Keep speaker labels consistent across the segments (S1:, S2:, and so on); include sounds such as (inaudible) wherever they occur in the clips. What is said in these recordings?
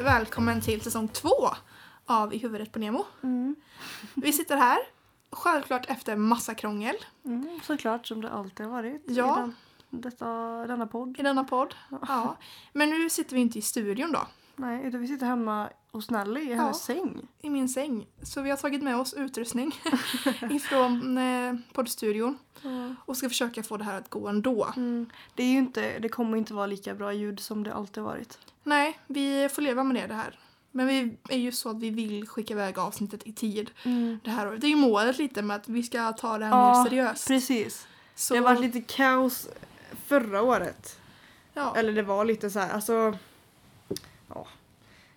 S1: välkommen till säsong två av I huvudet på Nemo.
S2: Mm.
S1: Vi sitter här, självklart efter massa krångel
S2: Mm, såklart som det alltid har varit
S1: Ja.
S2: i den, detta, denna podd.
S1: i denna podd. Ja. Men nu sitter vi inte i studion då,
S2: Nej, utan vi sitter hemma hos Nelly i hennes säng.
S1: i min säng. Så vi har tagit med oss
S2: (laughs)
S1: utrustning ifrån eh, poddstudion och ska försöka få det här att gå ändå.
S2: Mm. Det, är ju inte, det kommer inte vara lika bra ljud som det alltid har varit.
S1: Nej, vi får leva med det, det här. Men vi är ju så att vi vill skicka iväg avsnittet i tid. Det, här, året. det är ju målet lite med att vi ska ta det här
S2: Ja,
S1: mer seriöst.
S2: Precis.
S1: Så,
S2: Det har varit lite kaos förra året.
S1: ja.
S2: Eller det var lite så här, alltså... Ja.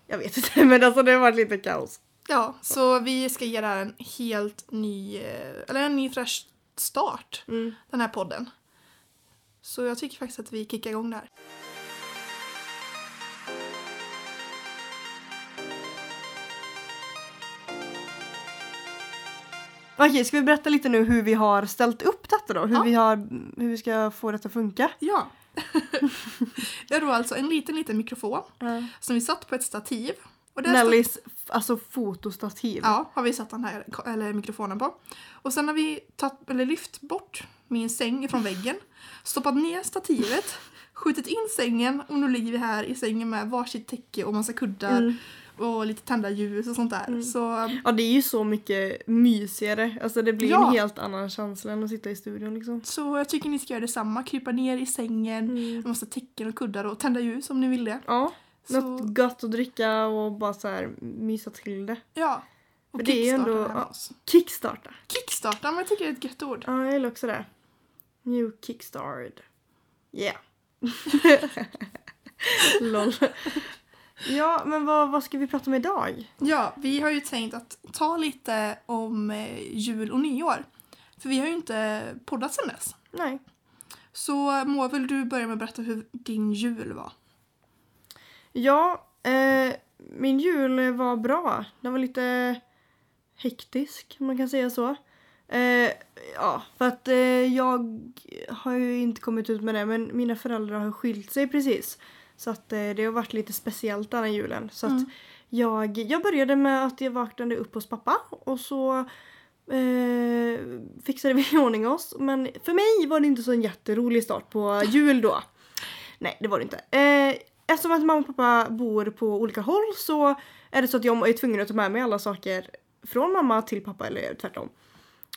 S2: Jag vet inte, (laughs) men alltså det har varit lite kaos.
S1: Ja, så vi ska ge det här en helt ny, eh, eller en ny fräsch start,
S2: Mm.
S1: den här podden. Så jag tycker faktiskt att vi kickar igång där.
S2: Okej, ska vi berätta lite nu hur vi har ställt upp detta då? Hur,
S1: Ja.
S2: vi, har, hur vi ska få detta att funka?
S1: Ja. (laughs) jag drog alltså en liten, liten mikrofon som vi satt på ett stativ. Och där
S2: Nellys f- alltså, fotostativ.
S1: Ja, har vi satt den här eller mikrofonen på. Och sen har vi tagit, eller lyft bort min säng ifrån väggen, stoppat ner stativet, skjutit in sängen och nu ligger vi här i sängen med varsitt täcke och massa kuddar
S2: Mm.
S1: och lite tända ljus och sånt där. Så
S2: Ja det är ju så mycket mysigare. Alltså det blir
S1: Ja.
S2: en helt annan känsla än att sitta i studion liksom.
S1: Så jag tycker ni ska göra detsamma. Krypa ner i sängen,
S2: Mm.
S1: med massa täcken och kuddar och tända ljus om ni vill det.
S2: Ja.
S1: Så-
S2: Något gött att dricka och bara så här mysa till det.
S1: Ja. Och
S2: För det är ju
S1: kickstarta
S2: ändå-
S1: det här med
S2: ja.
S1: oss.
S2: Kickstarta.
S1: Kickstarta, men jag tycker det är ett gött ord.
S2: Ja, jag gillar också det. New kickstart. Yeah. (laughs)
S1: (laughs)
S2: Lol. Ja, men vad, vad ska vi prata om idag?
S1: Ja, vi har ju tänkt att ta lite om eh, jul och nyår. För vi har ju inte poddat sedan dess.
S2: Nej.
S1: Så Moa, vill du börja med att berätta hur din jul var?
S2: Ja, eh, min jul var bra. Den var lite hektisk, om man kan säga så. Eh, ja, för att eh, jag har ju inte kommit ut med det, men mina föräldrar har skilt sig precis. Så att eh, det har varit lite speciellt den här julen. Så att
S1: Mm.
S2: jag, jag började med att jag vaknade upp hos pappa och så eh, fixade vi i ordning oss. Men för mig var det inte så en jätterolig start på jul då. Nej, det var det inte. Eh, eftersom att mamma och pappa bor på olika håll så är det så att jag är tvungen att ta med mig alla saker från mamma till pappa eller tvärtom.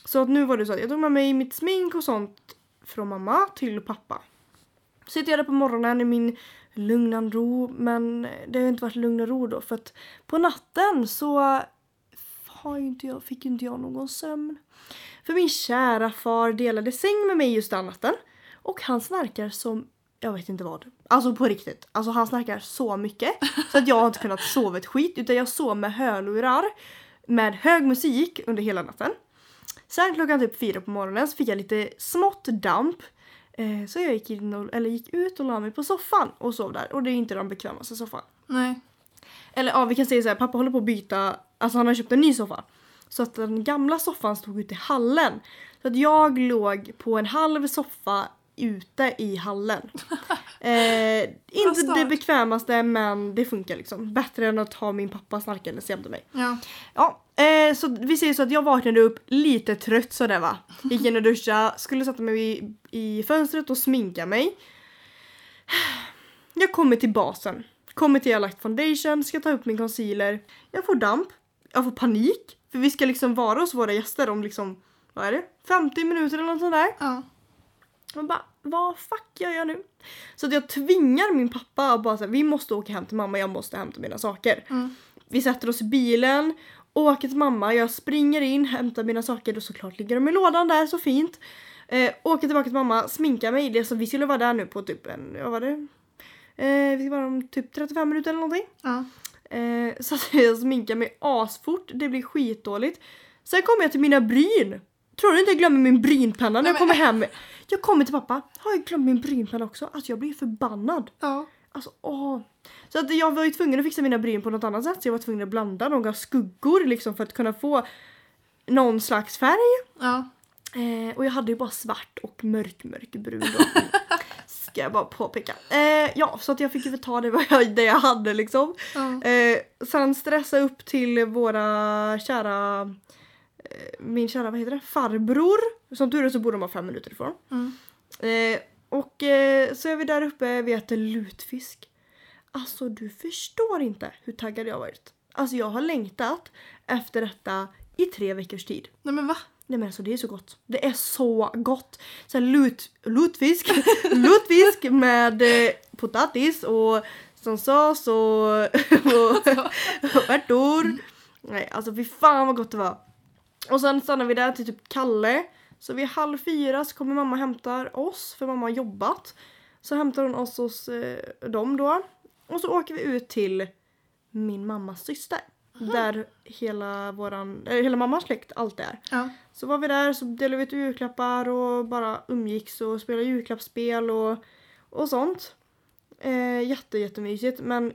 S2: Så att nu var det så att jag tog med mig mitt smink och sånt från mamma till pappa. Sitter jag där på morgonen i min lugna ro men det har ju inte varit lugn och ro då för att på natten så har ju inte jag, fick ju inte jag någon sömn. För min kära far delade säng med mig just den natten och han snarkar som jag vet inte vad. Alltså på riktigt. Alltså han snarkar så mycket så att jag har inte kunnat sova ett skit utan jag sov med hörlurar med hög musik under hela natten. Sen klockan typ fyra på morgonen så fick jag lite smått damp. Eh, så jag gick, in och, eller gick ut och la mig på soffan och sov där. Och det är ju inte den bekvämaste soffan.
S1: Nej.
S2: Eller ja, vi kan säga så här, pappa håller på att byta, alltså han har köpt en ny soffa. Så att den gamla soffan stod ute i hallen. Så att jag låg på en halv soffa ute i hallen. Eh, inte det
S1: stört.
S2: bekvämaste men det funkar liksom. Bättre än att ha min pappa snarkandes jämte mig.
S1: Ja.
S2: Ja, eh, så vi säger så att jag vaknade upp lite trött sådär va. Gick in och duscha, skulle sätta mig i, i fönstret och sminka mig. Jag kommer till basen. Kommer till jag lagt foundation, ska ta upp min concealer. Jag får damp. Jag får panik. För vi ska liksom vara hos våra gäster om liksom, vad är det? 50 minuter eller något sånt där.
S1: Ja.
S2: Jag bara, vad fuck gör jag nu? Så att jag tvingar min pappa att bara säga, vi måste åka hem till mamma, jag måste hämta mina saker.
S1: Mm.
S2: Vi sätter oss i bilen, åker till mamma, jag springer in, hämtar mina saker och såklart ligger de i lådan där så fint. Eh, åker tillbaka till mamma, sminkar mig, det är så vi skulle vara där nu på typ en, vad var det? Eh, vi skulle vara där om typ 35 minuter eller någonting.
S1: ja.
S2: Eh, (laughs) så att jag sminkar mig asfort, det blir skitdåligt. Sen kommer jag till mina bryn. Tror du inte jag glömmer min brynpenna när jag
S1: Nej, men-
S2: kommer hem? Jag kommer till pappa, har jag glömt min brynpenna också? Alltså jag blir förbannad.
S1: Ja.
S2: Alltså åh. Så att jag var ju tvungen att fixa mina bryn på något annat sätt så jag var tvungen att blanda några skuggor liksom för att kunna få någon slags färg.
S1: Ja. (laughs)
S2: Eh, och jag hade ju bara svart och mörk mörkbrun då. ska jag bara påpeka. Eh, ja, så att jag fick ju ta det, (laughs) vad jag, det jag hade liksom.
S1: Ja.
S2: Eh, sen stressa upp till våra kära, eh, min kära vad heter det? farbror. Som tur är så bor de bara fem minuter ifrån.
S1: Mm.
S2: Eh, och eh, så är vi där uppe, vi äter lutfisk. Alltså du förstår inte hur taggad jag har varit. Alltså jag har längtat efter detta i tre veckors tid.
S1: Nej men va?
S2: Nej men alltså det är så gott. Det är så gott. Så här lut, lutfisk, (laughs) lutfisk med eh, potatis och sås och, (laughs) och, och ärtor. Nej alltså fy fan vad gott det var. Och sen stannar vi där till typ Kalle. Så vid halv fyra så kommer mamma och hämtar oss för mamma har jobbat. Så hämtar hon oss hos eh, dem då. Och så åker vi ut till min mammas syster. Där hela, våran, eh, hela mammas släkt allt är.
S1: Ja.
S2: Så var vi där så delade vi ut julklappar och bara umgicks och spelade julklappsspel och, och sånt. Eh, jätte, jättemysigt men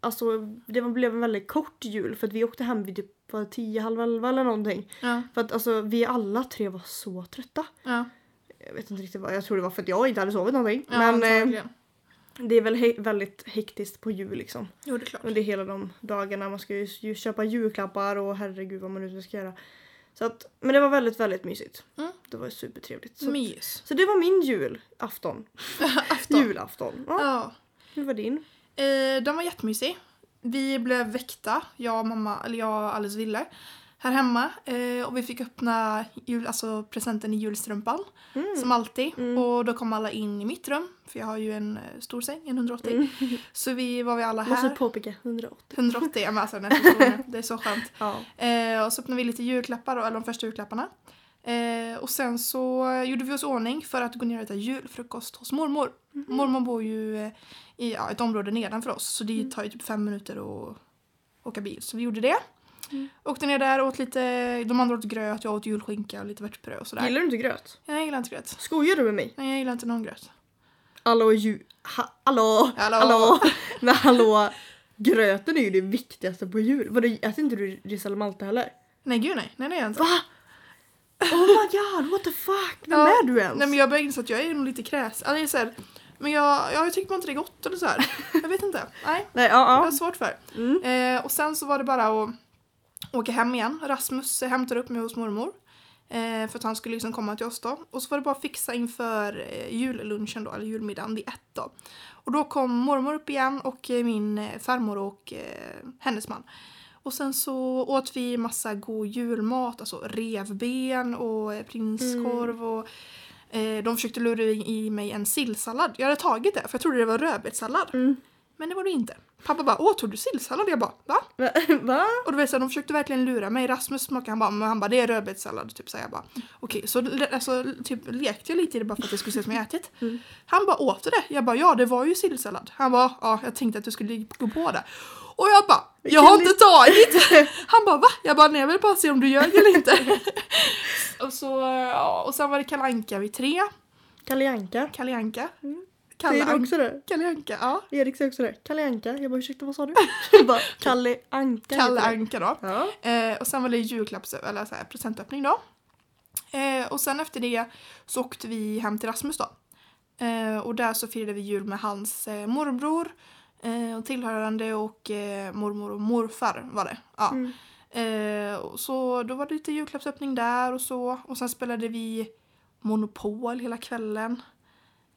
S2: alltså det var- blev en väldigt kort jul för att vi åkte hem vid typ var det tio, halv elva eller någonting.
S1: Ja.
S2: För att alltså vi alla tre var så trötta.
S1: ja.
S2: Jag vet inte riktigt vad, jag tror det var för att jag inte hade sovit någonting.
S1: ja
S2: men eh,
S1: antagligen.
S2: det är väl he- väldigt hektiskt på jul liksom.
S1: Jo det är klart.
S2: Under hela de dagarna. Man ska ju, ju köpa julklappar och herregud vad man nu ska göra. Så att, men det var väldigt, väldigt mysigt.
S1: Mm.
S2: Det var supertrevligt. Så,
S1: Mys.
S2: så det var min (laughs) julafton.
S1: Afton.
S2: Julafton. Ja,
S1: Ja.
S2: Hur var din?
S1: Eh, den var jättemysig. Vi blev väckta, jag och mamma, eller jag och Alice ville, här hemma. Eh, och vi fick öppna jul, alltså presenten i julstrumpan,
S2: Mm.
S1: som alltid. Och då kom alla in i mitt rum, för jag har ju en eh, stor säng, en 180. Så vi Mm. var vi alla
S2: Måste
S1: här.
S2: påpeka 180.
S1: 180, ja, men alltså den är så stor. Det är så skönt.
S2: Ja.
S1: Eh, och så öppnade vi lite julklappar, då, eller de första julklapparna. Eh, och sen så gjorde vi oss i ordning för att gå ner och äta julfrukost hos mormor. Mormor bor ju eh, i ja, ett område nedanför oss så det tar ju typ fem minuter att åka bil. Så vi gjorde det. Åkte ner där och åt lite, de andra åt gröt, jag åt julskinka och lite vörtbröd och sådär.
S2: Gillar du inte gröt?
S1: Jag gillar inte gröt.
S2: Skojar du med mig?
S1: Nej jag gillar inte någon gröt.
S2: Hallå ju... Ha, hallå!
S1: Hallå.
S2: (laughs) Men hallå! Gröten är ju det viktigaste på jul. Vadå, äter inte du ris eller malta heller?
S1: Nej gud nej, nej det gör jag inte.
S2: Va? Oh my god, what the fuck? Vem
S1: Ja.
S2: är du ens?
S1: Nej men jag börjar inse att jag är nog lite kräs. Alltså, jag är så här, men jag, jag tycker bara inte det är gott eller så här. Jag vet inte. Nej.
S2: Nej, ja,
S1: Jag har
S2: ja.
S1: svårt för.
S2: Mm.
S1: Eh, och sen så var det bara att åka hem igen. Rasmus eh, hämtade upp mig hos mormor. Eh, för att han skulle liksom komma till oss då. Och så var det bara att fixa inför eh, jullunchen då, eller julmiddagen vid ett då. Och då kom mormor upp igen och eh, min eh, farmor och eh, hennes man. Och sen så åt vi massa god julmat, alltså revben och eh, prinskorv och eh, de försökte lura i i mig en sillsallad. Jag hade tagit det för jag trodde det var rödbetssallad.
S2: Mm.
S1: Men det var det inte. Pappa bara åh tog du sillsallad? Jag bara va?
S2: Va? (laughs) Va?
S1: Och du vet så här, de försökte verkligen lura mig. Rasmus smakade han bara, men han bara det är rödbetssallad. Typ så här, jag bara okej. Så le- alltså, typ, lekte jag lite i det bara för att det skulle se som jag ätit.
S2: Mm.
S1: Han bara åt det. Jag bara ja det var ju sillsallad. Han bara ja jag tänkte att du skulle gå på det. Och jag bara jag har inte
S2: (laughs)
S1: tagit! Han bara va? Jag bara nej jag vill bara se om du ljög eller inte. och så ja, och sen var det Kalle Anka vid tre.
S2: Kalle Anka.
S1: Kalle Anka. Mm.
S2: Säger
S1: Kalle
S2: du
S1: Anka.
S2: också det?
S1: Kalle Anka, ja.
S2: Erik säger också det. Kalle Anka. Jag bara ursäkta vad sa du? (laughs) Jag bara, Kalle Anka.
S1: Kalle
S2: heter det.
S1: Anka då.
S2: Ja.
S1: Eh, och sen var det julklapps eller så här, presentöppning då. Eh, och sen efter det så åkte vi hem till Rasmus då. Eh, och där så firade vi jul med hans eh, morbror eh, och tillhörande och eh, mormor och morfar var det. Ja.
S2: Mm.
S1: Eh, och så då var det lite julklappsöppning där och så. Och sen spelade vi Monopol hela kvällen.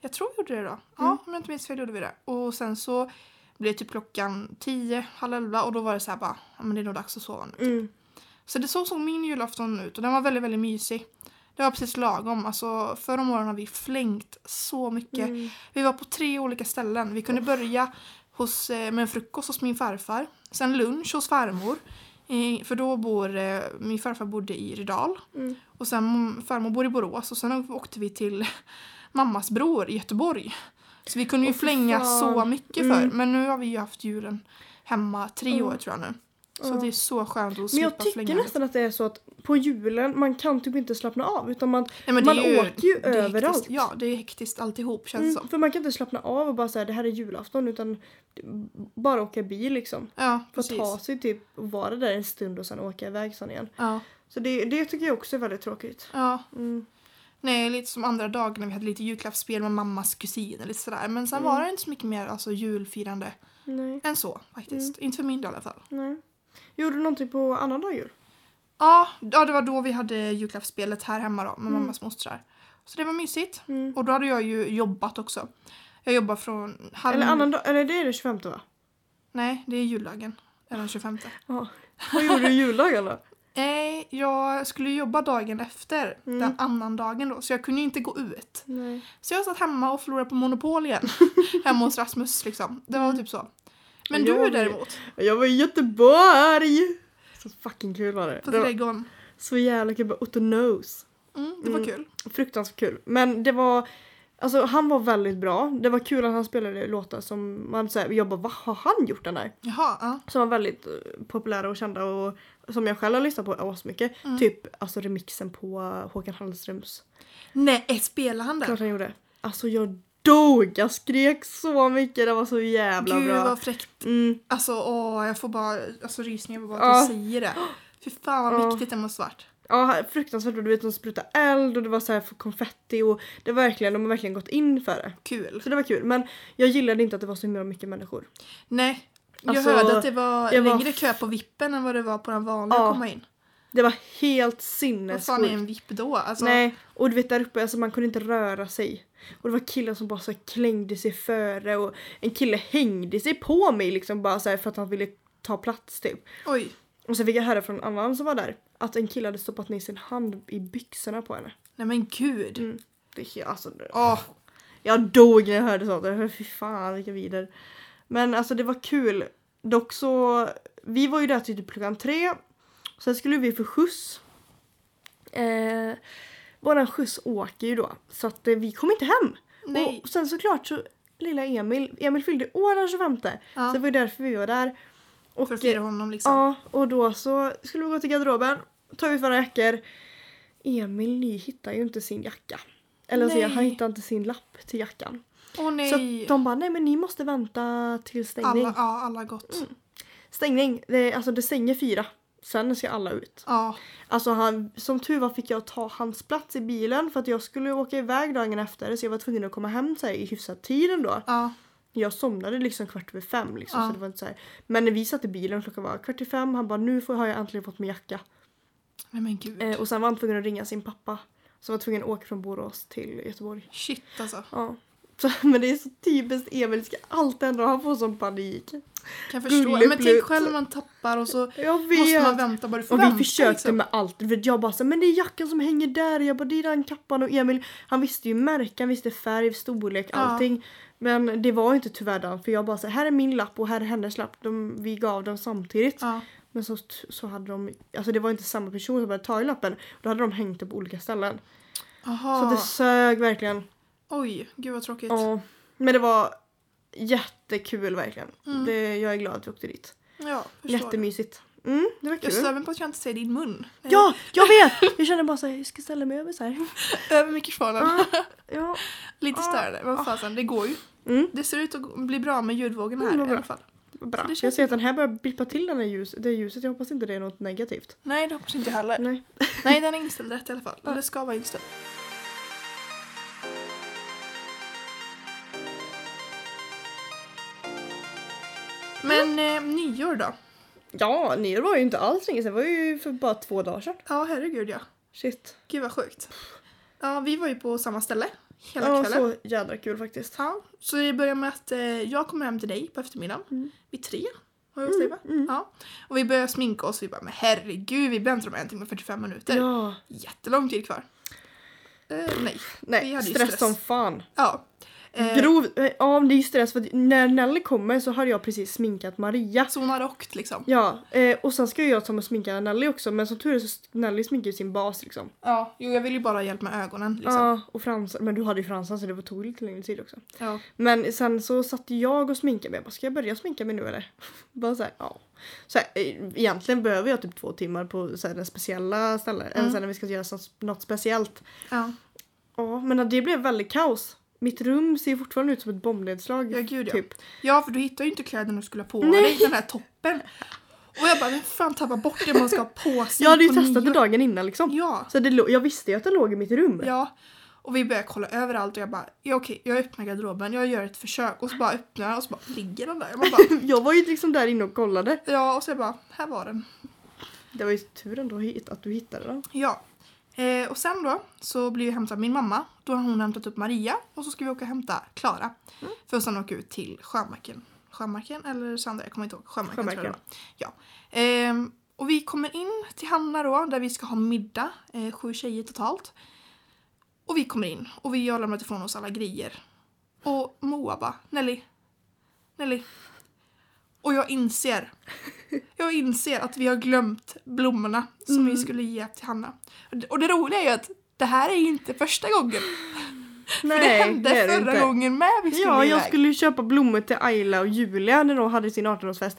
S1: Jag tror vi gjorde det då. Ja, om jag inte minns fel gjorde vi det. Och sen så blev det typ klockan tio, halv elva och då var det så här bara, ja men det är nog dags att sova nu.
S2: Mm.
S1: Så det så såg min julafton ut och den var väldigt, väldigt mysig. Det var precis lagom. Alltså, förra åren har vi flängt så mycket.
S2: Mm.
S1: Vi var på tre olika ställen. Vi kunde börja hos, eh, med en frukost hos min farfar, sen lunch hos farmor. eh, För då bor, eh, min farfar bodde i Rydal
S2: Mm.
S1: och sen farmor bor i Borås och sen åkte vi till mammas bror i Göteborg. Så vi kunde ju
S2: Åh, fy
S1: flänga
S2: fan.
S1: så mycket
S2: Mm.
S1: förr men nu har vi ju haft julen hemma tre
S2: Mm.
S1: år tror jag nu. Så
S2: Ja.
S1: det är så skönt att
S2: Men
S1: slippa
S2: jag tycker
S1: flänga.
S2: nästan att det är så att på julen, man kan typ inte slappna av utan man,
S1: Nej, men
S2: man
S1: det är ju,
S2: åker ju
S1: det är hektiskt.
S2: överallt.
S1: Ja, det är hektiskt alltihop känns det
S2: Mm,
S1: som.
S2: för man kan inte slappna av och bara säga det här är julafton utan bara åka bil liksom.
S1: Ja,
S2: Få ta
S1: precis.
S2: sig typ och vara där en stund och sen åka iväg sen igen.
S1: Ja,
S2: Så det, det tycker jag också är väldigt tråkigt.
S1: ja.
S2: Mm.
S1: Nej, lite som andra dagar när vi hade lite julklappsspel med mammas kusin och lite sådär. Men
S2: Mm.
S1: sen var det inte så mycket mer alltså, julfirande
S2: Nej,
S1: än så faktiskt.
S2: Mm.
S1: Inte för min del i alla fall.
S2: nej. Gjorde du någonting på annandag jul?
S1: Ja, ja, det var då vi hade julklappsspelet här hemma då med mammas mostrar. Så det var mysigt.
S2: Mm.
S1: Och då hade jag ju jobbat också. Jag jobbar från halv...
S2: Eller annandag, eller det är det 25 va?
S1: Nej, det är juldagen. Eller den 25.
S2: Ja. Vad gjorde du
S1: (laughs)
S2: juldagen då?
S1: Nej, jag skulle jobba dagen efter.
S2: Mm.
S1: Den annan dagen då. Så jag kunde ju inte gå ut.
S2: Nej.
S1: Så jag satt hemma och förlorade på Monopol (laughs) igen. hemma hos Rasmus liksom. Det var typ så. Men
S2: Ja,
S1: du
S2: jag-
S1: däremot,
S2: Jag var i Göteborg! Så fucking kul var det.
S1: på
S2: det var
S1: trädgården.
S2: så jävla kul. Bara Otto Nose.
S1: Mm, det var
S2: Mm.
S1: kul.
S2: Fruktansvärt kul. Men det var... Alltså han var väldigt bra. Det var kul att han spelade låtar som man säger, jag bara vad har han gjort den där?
S1: Jaha, ja.
S2: Som var väldigt eh, populära och kända och som jag själv har lyssnat på asmycket.
S1: Mm.
S2: Typ alltså remixen på eh, Håkan Hallströms.
S1: Nej, spelar han där?
S2: Klart han gjorde. Alltså jag dog! Jag skrek så mycket, det var så jävla
S1: Gud
S2: bra.
S1: vad fräckt.
S2: Mm,
S1: Alltså åh, jag får bara alltså, rysningar på bara att
S2: Ja.
S1: du säger det. (gasps) Fy fan vad
S2: Ja.
S1: mäktigt det måste varit.
S2: ja, fruktansvärt bra. Du vet de sprutade eld och det var så här konfetti och det var verkligen, de har verkligen gått in för det.
S1: Kul.
S2: Så det var kul. Men jag gillade inte att det var så himla mycket människor.
S1: Nej, jag
S2: Alltså,
S1: hörde att det var
S2: jag var-
S1: längre kö på vippen än vad det var på den vanliga
S2: Ja,
S1: att komma in.
S2: Det var helt
S1: Vad fan är
S2: sinnessjukt.
S1: en vipp då? Alltså,
S2: Nej, och du vet där uppe, alltså man kunde inte röra sig. Och det var killar som bara så här klängde sig före och en kille hängde sig på mig liksom bara så här för att han ville ta plats typ.
S1: Oj,
S2: Och sen fick jag höra från en annan som var där att en kille hade stoppat ner sin hand i byxorna på henne.
S1: nej men gud.
S2: Mm. Det, är helt- alltså, det-
S1: Åh,
S2: jag dog när jag hörde sånt. Jag bara, Fy fan vilka vider. Men alltså det var kul. Dock så, vi var ju där till typ klockan tre. Sen skulle vi få skjuts. Eh, våran skjuts åker ju då. Så att eh, vi kom inte hem.
S1: nej.
S2: Och sen såklart så lilla Emil, Emil fyllde år den 25.
S1: Ja.
S2: Så det var ju därför vi var där. Och,
S1: För att fira honom liksom.
S2: Ja, och då så skulle vi gå till garderoben, tar vi våra jackor. Emil ny hittar ju inte sin jacka. Eller så
S1: Nej.
S2: han hittar inte sin lapp till jackan.
S1: Åh nej.
S2: Så att de bara, nej men ni måste vänta till
S1: alla,
S2: stängning.
S1: ja, alla gott.
S2: Mm. Stängning, det, alltså det stänger fyra. Sen ska alla ut.
S1: Ja,
S2: Alltså han, som tur var fick jag ta hans plats i bilen för att jag skulle åka iväg dagen efter så jag var tvungen att komma hem så här, i hyfsad tid ändå.
S1: ja.
S2: Jag somnade liksom kvart över fem. Liksom,
S1: Ja.
S2: så det var inte så här. Men när vi satt i bilen klockan var kvart i fem. Han bara nu får, har jag äntligen fått min jacka.
S1: Nej men gud.
S2: Eh, och sen var han tvungen att ringa sin pappa. Så var tvungen att åka från Borås till Göteborg.
S1: Shit alltså.
S2: Ja. Så, (laughs) men det är så typiskt Emil. Ska allt ändra. Han får sån panik.
S1: Kan jag förstå.
S2: Gullig
S1: Men
S2: plutt.
S1: tänk själv om man tappar och så
S2: Jag vet.
S1: måste man vänta bara du får
S2: och
S1: vänta,
S2: vi försökte
S1: liksom.
S2: med allt. För Jag bara så, här, men det är jackan som hänger där. Jag bara det är den kappan. Och Emil han visste ju märke, han visste färg, storlek,
S1: Ja.
S2: allting. Men det var ju inte tyvärr den. För jag bara så här, här är min lapp och här är hennes lapp. De, vi gav dem samtidigt.
S1: Ja.
S2: Men så, så hade de, alltså det var inte samma person som hade tagit lappen. Då hade de hängt det på olika ställen. Så
S1: Aha.
S2: det sög verkligen.
S1: Oj, gud vad tråkigt.
S2: Ja. Men det var jättekul verkligen.
S1: Mm.
S2: Det, jag är glad att vi åkte dit.
S1: Ja, förstår. det.
S2: Jättemysigt. Mm, det var
S1: Jag
S2: kul.
S1: stör mig på att jag inte säger din mun. Eh,
S2: Ja, jag
S1: (laughs)
S2: vet! Jag känner bara så här, jag ska ställa mig över så här.
S1: Över mikrofonen.
S2: Ah. Ja.
S1: (laughs) Lite störande.
S2: Ah.
S1: Vad fasen, det går ju.
S2: Mm.
S1: Det ser ut att gå- bli bra med ljudvågen här
S2: Mm, vad
S1: i
S2: bra.
S1: alla fall.
S2: vad Bra.
S1: Så det
S2: jag
S1: känns
S2: ser att den här börjar blippa till den här ljus, det ljuset. Jag hoppas inte det är något negativt.
S1: Nej, det hoppas inte jag heller.
S2: Nej.
S1: Nej, den är inställd rätt i alla fall. Eller ska vara inställd. Men eh, nyår då?
S2: Ja, nyår var ju inte alls länge sedan. Det var ju för bara två dagar sedan.
S1: Ja, herregud ja.
S2: Shit.
S1: Gud vad sjukt. Ja, vi var ju på samma ställe hela
S2: Ja,
S1: kvällen.
S2: så jädra kul faktiskt.
S1: Ja, så det börjar med att eh, jag kommer hem till dig på eftermiddagen vid tre. Har jag mm, Ja. Och vi börjar sminka oss och vi bara, men herregud, vi behöver inte de en timme och 45 minuter.
S2: Ja.
S1: Jättelång tid kvar. Eh, nej. Vi
S2: Nej,
S1: hade ju
S2: stress,
S1: stress.
S2: som fan.
S1: Ja. Eh,
S2: Grov, ja men det är ju stress för att när Nelly kommer så har jag precis sminkat Maria.
S1: så hon hade åkt liksom.
S2: Ja, eh, och sen ska ju jag ta och sminka Nelly också men som tur är så s- Nelly sminkar ju sin bas liksom.
S1: Ja, jo jag vill ju bara ha hjälp med ögonen liksom.
S2: Ja, och fransar. Men du hade ju fransar så det var- tog lite längre tid också.
S1: Ja.
S2: Men sen så satt jag och sminkade mig. Jag bara, ska jag börja sminka mig nu eller? (laughs) bara såhär, ja. Så här, eh, egentligen behöver jag typ två timmar på så här, det speciella stället.
S1: Mm.
S2: Eller sen när vi ska göra så- något speciellt.
S1: Ja,
S2: Ja, men det blev väldigt kaos. Mitt rum ser ju fortfarande ut som ett bombnedslag.
S1: ja gud ja.
S2: Typ.
S1: Ja, för du hittar ju inte kläderna du skulle ha på
S2: Nej.
S1: dig, den här toppen. Och jag bara, vem fan tappar bort det man ska ha
S2: (laughs)
S1: på sig
S2: Jag hade ju
S1: på
S2: testat det
S1: nyår?
S2: dagen innan liksom.
S1: Ja,
S2: Så det, lå- jag visste ju att det låg i mitt rum.
S1: ja. Och vi började kolla överallt och jag bara, ja, okej, jag öppnar garderoben, jag gör ett försök. Och så bara öppnar jag och så bara ligger den där. Och Man bara, (laughs)
S2: (laughs) Jag var ju liksom där inne och kollade.
S1: ja, och så jag bara, här var den.
S2: Det var ju tur ändå hit- att du hittade den.
S1: Ja. Eh, och sen då så blir vi hämtade av min mamma. Då har hon hämtat upp Maria och så ska vi åka och hämta Klara. För att sen åka ut till Sjömarken. Sjömarken eller Sandra, jag kommer inte ihåg. Sjömarken, tror jag det var. Ja. Ehm, och vi kommer in till Hanna då där vi ska ha middag. Eh, sju tjejer totalt. Och vi kommer in och vi har lämnat ifrån oss alla grejer. Och Moa bara Nelly, Nelly. Och jag inser jag inser att vi har glömt blommorna som
S2: Mm.
S1: vi skulle ge till Hanna. Och det- Och det roliga är ju att det här är ju inte första gången.
S2: Nej,
S1: (laughs) det hände
S2: det är det
S1: förra
S2: inte.
S1: gången med vi skulle
S2: Ja, jag
S1: iväg.
S2: skulle ju köpa blommor till Ayla och Julia när de hade sin 18-årsfest.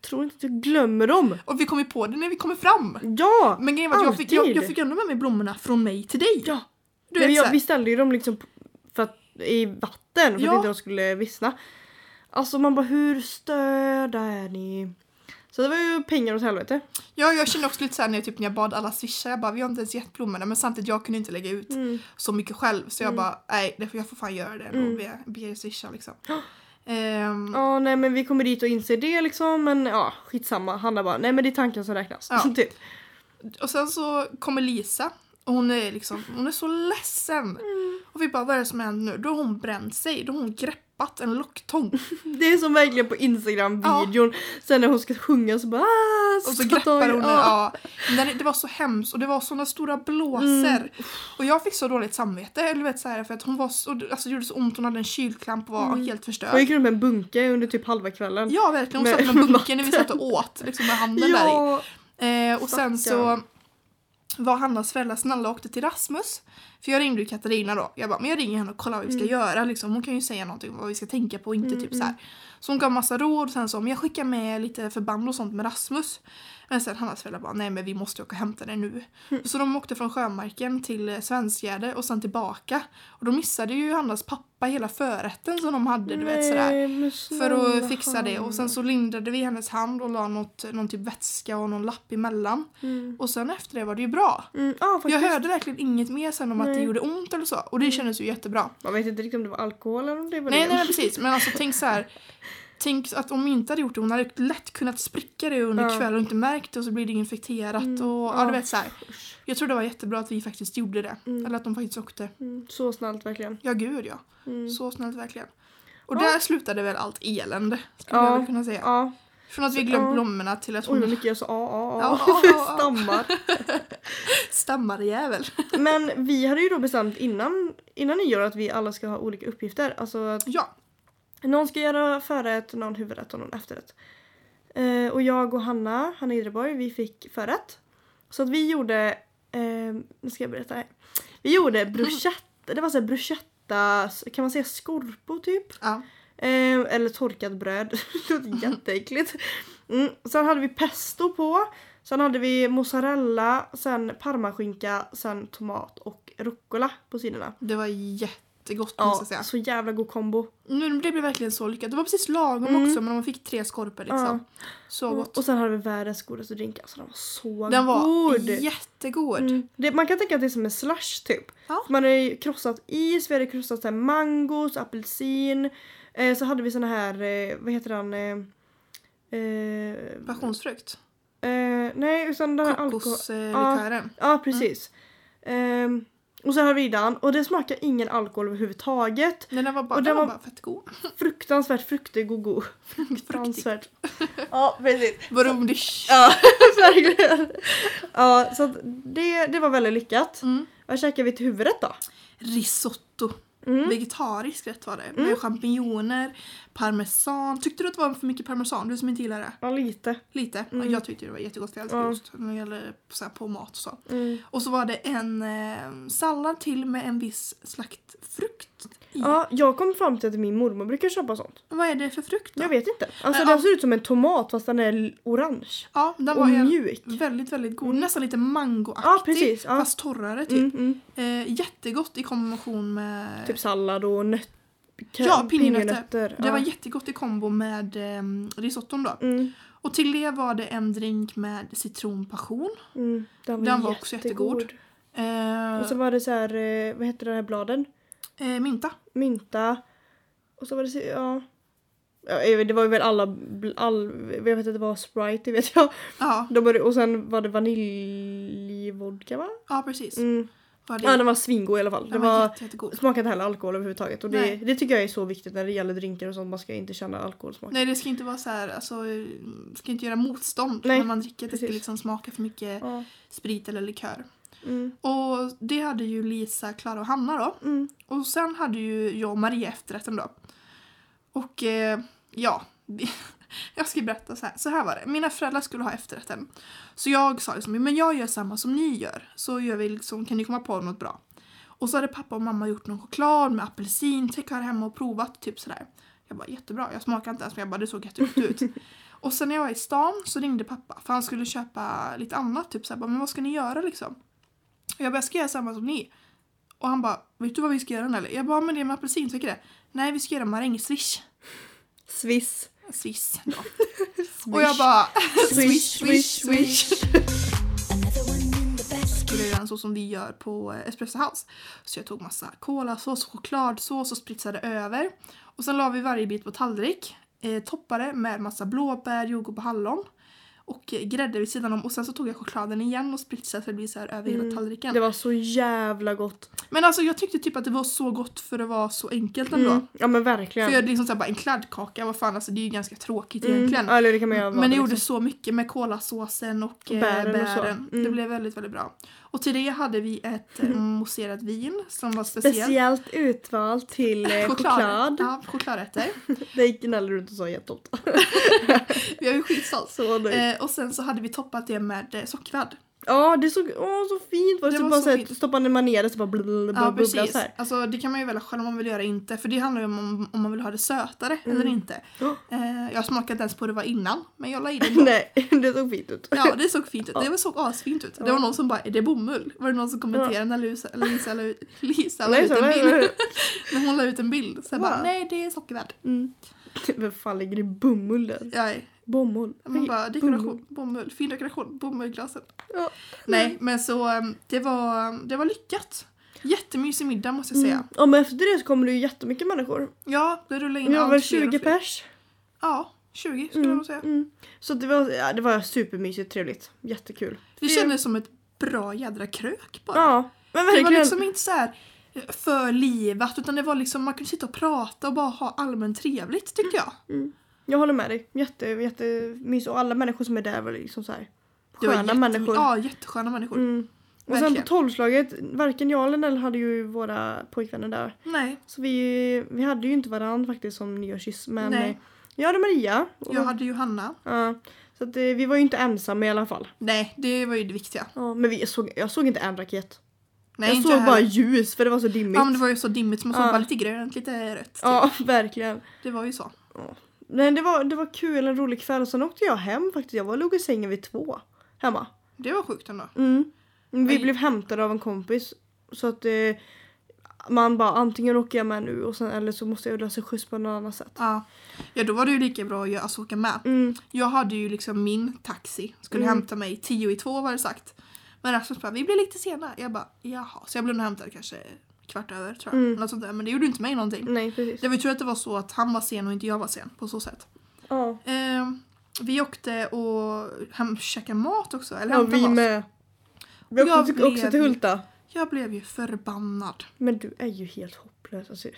S2: Tror inte att jag glömmer dem.
S1: Och vi kom ju på det när vi kommer fram.
S2: Ja!
S1: Men grejen var att jag fick, jag,
S2: Alltid.
S1: jag fick ändå med mig blommorna från mig till dig. Ja. Du
S2: Men
S1: vet,
S2: jag,
S1: jag,
S2: vi ställde ju dem liksom p- för att, i vatten för
S1: Ja.
S2: att inte de skulle vissna. Alltså man bara hur störda är ni? Så det var ju pengar åt helvete.
S1: ja, jag kände också lite såhär när jag, typ, när jag bad alla swisha, jag bara vi har inte ens gett blommorna men samtidigt jag kunde inte lägga ut
S2: Mm.
S1: så mycket själv så jag bara nej det får- jag får fan göra det ändå och be, be er swisha liksom. Ehm,
S2: Ja nej men vi kommer dit och inser det liksom men ja skitsamma. Hanna bara nej men det är tanken som räknas.
S1: Ja.
S2: (laughs) typ.
S1: Och sen så kommer Lisa och hon är liksom, hon är så ledsen.
S2: Mm.
S1: Och vi bara, vad är det som händer nu? Då har hon bränt sig, då har hon greppat en
S2: (laughs)
S1: locktång.
S2: Det är som verkligen på Instagram-videon. Sen när hon ska sjunga så bara "Ah,
S1: Och så
S2: ska ta-
S1: greppar hon den.
S2: ja.
S1: Ja. Men det- Det var så hemskt och det var såna stora blåser.
S2: Mm.
S1: Och jag fick så dåligt samvete, eller du vet så här, för att hon var så, alltså, det gjorde så ont, hon hade en kylklamp och var helt
S2: Hon
S1: förstörd.
S2: gick runt med en bunke under typ halva kvällen.
S1: Ja verkligen, hon
S2: Med- (laughs)
S1: satt med bunken när vi satt och åt liksom, med handen där i.
S2: Ja.
S1: Eh, och sen så
S2: Stackarn.
S1: var Hannas föräldrar snälla och åkte till Rasmus. För jag ringde ju Katarina då. Jag bara, men jag ringer henne och kollar vad vi ska göra. Liksom. Hon kan ju säga någonting om vad vi ska tänka på och inte typ så här. Så hon gav massa råd och sen så, men jag skickar med lite förband och sånt med Rasmus. Men sen Hannas föräldrar bara, nej men vi måste åka och hämta det nu. Så de åkte från Sjömarken till eh, Svenskgärde och sen tillbaka. Och då missade ju Hannas pappa hela förrätten som de hade, du vet sådär.
S2: Nej, men
S1: För
S2: snälla
S1: att fixa det. Och sen så lindrade vi hennes hand och la något, någon typ vätska och någon lapp emellan.
S2: Mm.
S1: Och sen efter det var det ju bra.
S2: Mm, ja, faktiskt.
S1: Jag hörde verkligen inget mer sen om att det
S2: Nej.
S1: gjorde ont eller så. Och det kändes ju jättebra.
S2: Man vet inte riktigt om det var alkohol eller om det var
S1: Nej,
S2: det.
S1: nej, nej precis. Men alltså tänk så här. Tänk att om hon inte hade gjort det, hon hade lätt kunnat spricka det under
S2: Ja. Mm.
S1: kvällen och inte märkt det och så blir det infekterat och ja, du vet så här. Jag tror det var jättebra att vi faktiskt gjorde det. Eller att de faktiskt åkte.
S2: Mm, så snällt verkligen.
S1: Ja gud ja.
S2: Mm.
S1: Så snällt verkligen. Och där slutade väl allt elände skulle
S2: Ja.
S1: jag väl kunna säga.
S2: Ja.
S1: Från att vi glömt
S2: ja.
S1: blommorna till att
S2: Oj vad
S1: hon
S2: mycket jag sa a (laughs)
S1: Ja,
S2: a
S1: ja, ja.
S2: a stammar.
S1: stammar (laughs) jävel.
S2: Men vi hade ju då bestämt innan, innan nyår att vi alla ska ha olika uppgifter. Alltså att
S1: Ja,
S2: någon ska göra förrätt, någon huvudrätt och någon efterrätt. Eh, och jag och Hanna, Hanna Idreborg, vi fick förrätt. Så att vi gjorde, eh, nu ska jag berätta här.
S1: (laughs)
S2: Vi gjorde bruschetta, det var såhär bruschetta, kan man säga skorpo typ?
S1: ja.
S2: Eh, eller torkat bröd. (laughs) det låter
S1: (laughs)
S2: jätteäckligt. Mm. Sen hade vi pesto på. Sen hade vi mozzarella, sen parmaskinka, sen tomat och rucola på sidorna.
S1: det var jättegott måste
S2: Ja,
S1: jag säga.
S2: så jävla god kombo.
S1: Nu, det blev verkligen så lyckat. Det var precis lagom
S2: Mm.
S1: också men man fick tre skorpor liksom. Så gott.
S2: Och sen hade vi världens godaste drink. Alltså den var så
S1: Den var
S2: god.
S1: jättegod.
S2: Mm. Det, man kan tänka att det är som en slush typ.
S1: Ja.
S2: Man har ju krossat is, vi hade krossat så här mangos, apelsin. Eh, så hade vi såna här, eh, vad heter den? Eh, eh,
S1: Passionsfrukt.
S2: Eh, nej, utan den här alkohol...
S1: Kokoslikören.
S2: Ja, precis. Ehm, och så har vi den och det smakar ingen alkohol överhuvudtaget.
S1: Nej, den var bara,
S2: Och
S1: den
S2: den
S1: var
S2: var-
S1: bara fett god. (laughs)
S2: Fruktansvärt fruktig och god.
S1: Mm. Fruktig.
S2: Fruktansvärt. ja, precis.
S1: Burundish.
S2: (laughs) Ja, verkligen. Ja, så att det, det var väldigt lyckat.
S1: Mm.
S2: Vad käkar vi till huvudet då?
S1: Risotto.
S2: Mm.
S1: Vegetarisk rätt var det. Med champinjoner, parmesan. Tyckte du att det var för mycket parmesan? Du som inte gillar det.
S2: Ja, lite.
S1: Lite.
S2: Mm.
S1: Jag tyckte det var jättegott. Jag älskar
S2: Ja.
S1: ost. När det gäller så här, på mat och så.
S2: Mm.
S1: Och så var det en eh, sallad till med en viss slags frukt i.
S2: Ja, jag kom fram till att min mormor brukar köpa sånt.
S1: Vad är det för frukt då?
S2: Jag vet inte. Alltså
S1: Men,
S2: den
S1: ja.
S2: ser ut som en tomat fast den är l- orange.
S1: Ja, den
S2: Och
S1: var ju
S2: mjuk. Mm.
S1: väldigt, väldigt god. Nästan lite mangoaktig.
S2: Ja, precis. Ja.
S1: Fast torrare typ.
S2: Mm, mm.
S1: Eh, jättegott i kombination med...
S2: Typ sallad och nöt...
S1: Ja, pinjenötter.
S2: pinjenötter.
S1: det var jättegott i kombo med eh, ehm, risotton då.
S2: Mm.
S1: Och till det var det en drink med citronpassion.
S2: Mm, den var,
S1: Den var också jättegod. Eh,
S2: Och så var det så här, eh, vad heter de här bladen?
S1: eh, mynta.
S2: Mynta. Och så var det, så- ja. ja. jag vet, Det var ju väl alla, bl- all, jag vet att det var Sprite, det vet jag.
S1: Ja,
S2: De var, och sen var det vaniljvodka va?
S1: ja precis.
S2: Mm.
S1: Var det,
S2: Ja den var svingod i alla fall.
S1: den
S2: Det
S1: var
S2: var,
S1: jätte, jättegod.
S2: smakade inte heller alkohol överhuvudtaget. Och det,
S1: Nej.
S2: det tycker jag är så viktigt när det gäller drinkar och sånt. Man ska inte känna alkoholsmak.
S1: Nej det ska inte vara så här, alltså ska inte göra motstånd
S2: Nej,
S1: när man dricker. Det ska
S2: precis.
S1: liksom smaka för mycket
S2: Ja.
S1: sprit eller likör.
S2: Mm.
S1: Och det hade ju Lisa, Klara och Hanna då.
S2: Mm.
S1: Och sen hade ju jag och Maria efterrätten då. Och eh, ja, (laughs) jag ska berätta så här. Så här var det. Mina föräldrar skulle ha efterrätten. Så jag sa liksom, men jag gör samma som ni gör. Så gör vi liksom, kan ni komma på något bra? Och så hade pappa och mamma gjort någon choklad med apelsintäck här hemma och provat, typ sådär. Jag bara jättebra, jag smakar inte ens men jag bara det såg jättegott ut. och sen när jag var i stan så ringde pappa för han skulle köpa lite annat, typ såhär, bara, men vad ska ni göra liksom? Och jag bara, jag ska göra samma som ni. Och han bara, vet du vad vi ska göra eller? Jag bara, men det är med apelsintäck i det. Nej, vi ska göra marängsviss.
S2: Swiss.
S1: (laughs) Swiss då. och jag bara, (laughs)
S2: Swish, swish, swish.
S3: Another one in the basket.
S1: skulle göra den så som vi gör på eh, Espresso House. Så jag tog massa kolasås, chokladsås och spritsade över. Och sen la vi varje bit på tallrik. Eh, toppade med massa blåbär, jordgubb och hallon. Och eh, grädde vid sidan om. Och sen så tog jag chokladen igen och spritsade så det blir så här över
S2: Mm.
S1: hela tallriken.
S2: Det var så jävla gott.
S1: Men alltså jag tyckte typ att det var så gott för det var så enkelt ändå.
S2: Mm. Ja men
S1: För
S2: verkligen.
S1: jag liksom såhär bara en kladdkaka, vad fan alltså det är ju ganska tråkigt egentligen.
S2: Mm. Ja, Eller det kan man göra vad
S1: Men det
S2: liksom.
S1: gjorde så mycket med kolasåsen och eh,
S2: Bären
S1: bären.
S2: och så. Mm.
S1: Det blev väldigt, väldigt bra. Och till det hade vi ett eh, mousserat vin som var speciellt.
S2: Speciellt utvalt till eh, choklad.
S1: Ja, chokladrätter.
S2: Det gnäller du inte så jätteofta.
S1: Vi har ju skitstolt.
S2: Så nöjd.
S1: Eh, och sen så hade vi toppat det med eh, sockervadd.
S2: Ja, det såg åh, så fint var det.
S1: Det
S2: så
S1: var
S2: bara
S1: så
S2: så här,
S1: fint.
S2: stoppade man ner det så bara blub, blub,
S1: Ja,
S2: bubbla
S1: precis.
S2: så här.
S1: Alltså, det kan man ju välja själv om man vill göra inte. För det handlar ju om- om om man vill ha det sötare eller inte.
S2: Mm. Ja.
S1: Eh, jag smakade inte ens på hur det var innan, men jag la
S2: (laughs)
S1: i det ändå.
S2: Nej, det såg fint ut.
S1: Ja, det såg fint ut. Det såg asfint ut. Det var någon som bara, är det bomull? Var det någon som kommenterade när Lisa, Lisa, la ut- (laughs) Lisa la
S2: Nej,
S1: ut
S2: så,
S1: en
S2: nej,
S1: bild?
S2: nej.
S1: När hon la ut en bild. Så jag
S2: Va?
S1: bara, nej det är sockervadd.
S2: (laughs) Mm. Vem fan ligger i bomull där?
S1: Jag,
S2: Bomull.
S1: man bara,
S2: Bomull.
S1: dekoration, bomull, fin dekoration, bomullglasen.
S2: Ja.
S1: Nej, men så um, det var, det var lyckat. Jättemysig middag måste jag säga.
S2: Mm. Ja, men efter det så kommer det ju jättemycket människor.
S1: Ja, det rullade in
S2: Vi var
S1: allt
S2: väl
S1: fler och
S2: 20
S1: fler.
S2: pers.
S1: Ja, 20 skulle jag
S2: Mm.
S1: nog säga.
S2: Mm. Så det var, ja, det var supermysigt, trevligt, jättekul.
S1: Det kändes som ett bra jädra krök bara.
S2: Ja, men
S1: Det var
S2: verkligen.
S1: liksom inte så här eh, för livat utan det var liksom man kunde sitta och prata och bara ha allmänt trevligt tyckte
S2: Mm.
S1: jag.
S2: Jag håller med dig. Jätte, jättemysigt. Och alla människor som är där var liksom så här
S1: Det var
S2: sköna
S1: jätte-
S2: människor.
S1: Ja, jättesköna människor.
S2: Mm. Och sen på
S1: Verkligen.
S2: tolvslaget, varken jag eller Nell hade ju våra pojkvänner där.
S1: Nej,
S2: Så vi, vi hade ju inte varandra faktiskt som nyårskyss. Men
S1: Nej.
S2: eh, jag hade Maria. Och,
S1: jag hade Johanna.
S2: ja, så att, eh, vi var ju inte ensamma i alla fall.
S1: Nej, det var ju det viktiga.
S2: Ja, men vi såg, jag såg inte en raket.
S1: Nej,
S2: jag
S1: inte
S2: såg
S1: här.
S2: bara ljus för det var så dimmigt.
S1: Ja, men det var ju så dimmigt som man såg
S2: Ja.
S1: bara lite grönt, lite rött. typ.
S2: Ja, verkligen.
S1: Det var ju så.
S2: Men det var, det var kul, en rolig kväll. Och sen åkte jag hem faktiskt. Jag var låg i sängen vid två hemma.
S1: Det var sjukt ändå.
S2: Mm. Vi
S1: Oj.
S2: blev hämtade av en kompis. Så att eh, man bara antingen åker jag med nu och sen, eller så måste jag lösa skjuts på något annat sätt.
S1: Ja. ja, då var det ju lika bra att göra- alltså, åka med.
S2: Mm.
S1: Jag hade ju liksom min taxi, skulle
S2: Mm.
S1: hämta mig tio i två var det sagt. Men Rasmus bara, vi blir lite sena. Jag bara, jaha. Så jag blev nog hämtad kanske kvart över tror jag.
S2: Mm.
S1: Något sånt där. Men det gjorde inte mig någonting.
S2: Nej precis.
S1: Det var ju tur att det var så att han var sen och inte jag var sen på så sätt.
S2: Ja.
S1: Eh, vi åkte och hem, käkade mat också. Eller
S2: ja,
S1: hämtade
S2: vi
S1: mat.
S2: med. Vi
S1: Jag
S2: åkte också
S1: blev-
S2: till Hulta.
S1: Jag blev ju förbannad.
S2: Men du är ju helt hopplös. Alltså.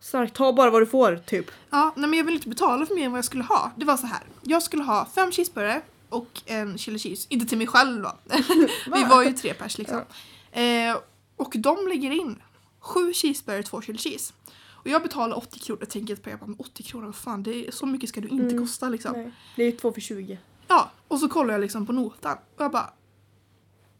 S2: Starkt, ta bara vad du får typ.
S1: Ja, nej men jag ville inte betala för mer än vad jag skulle ha. Det var så här. Jag skulle ha fem cheeseburgare och en chili cheese. Inte till mig själv
S2: (laughs)
S1: då. Vi var ju tre pers liksom. Eh, och de lägger in sju cheeseburgare och två chili cheese. Och jag betalar 80 kronor. Jag tänker på jag bara, men 80 kronor, vad fan, det är, så mycket ska du inte
S2: Mm.
S1: kosta liksom.
S2: Nej. Det är ju två för 20.
S1: Ja, och så kollar jag liksom på notan och jag bara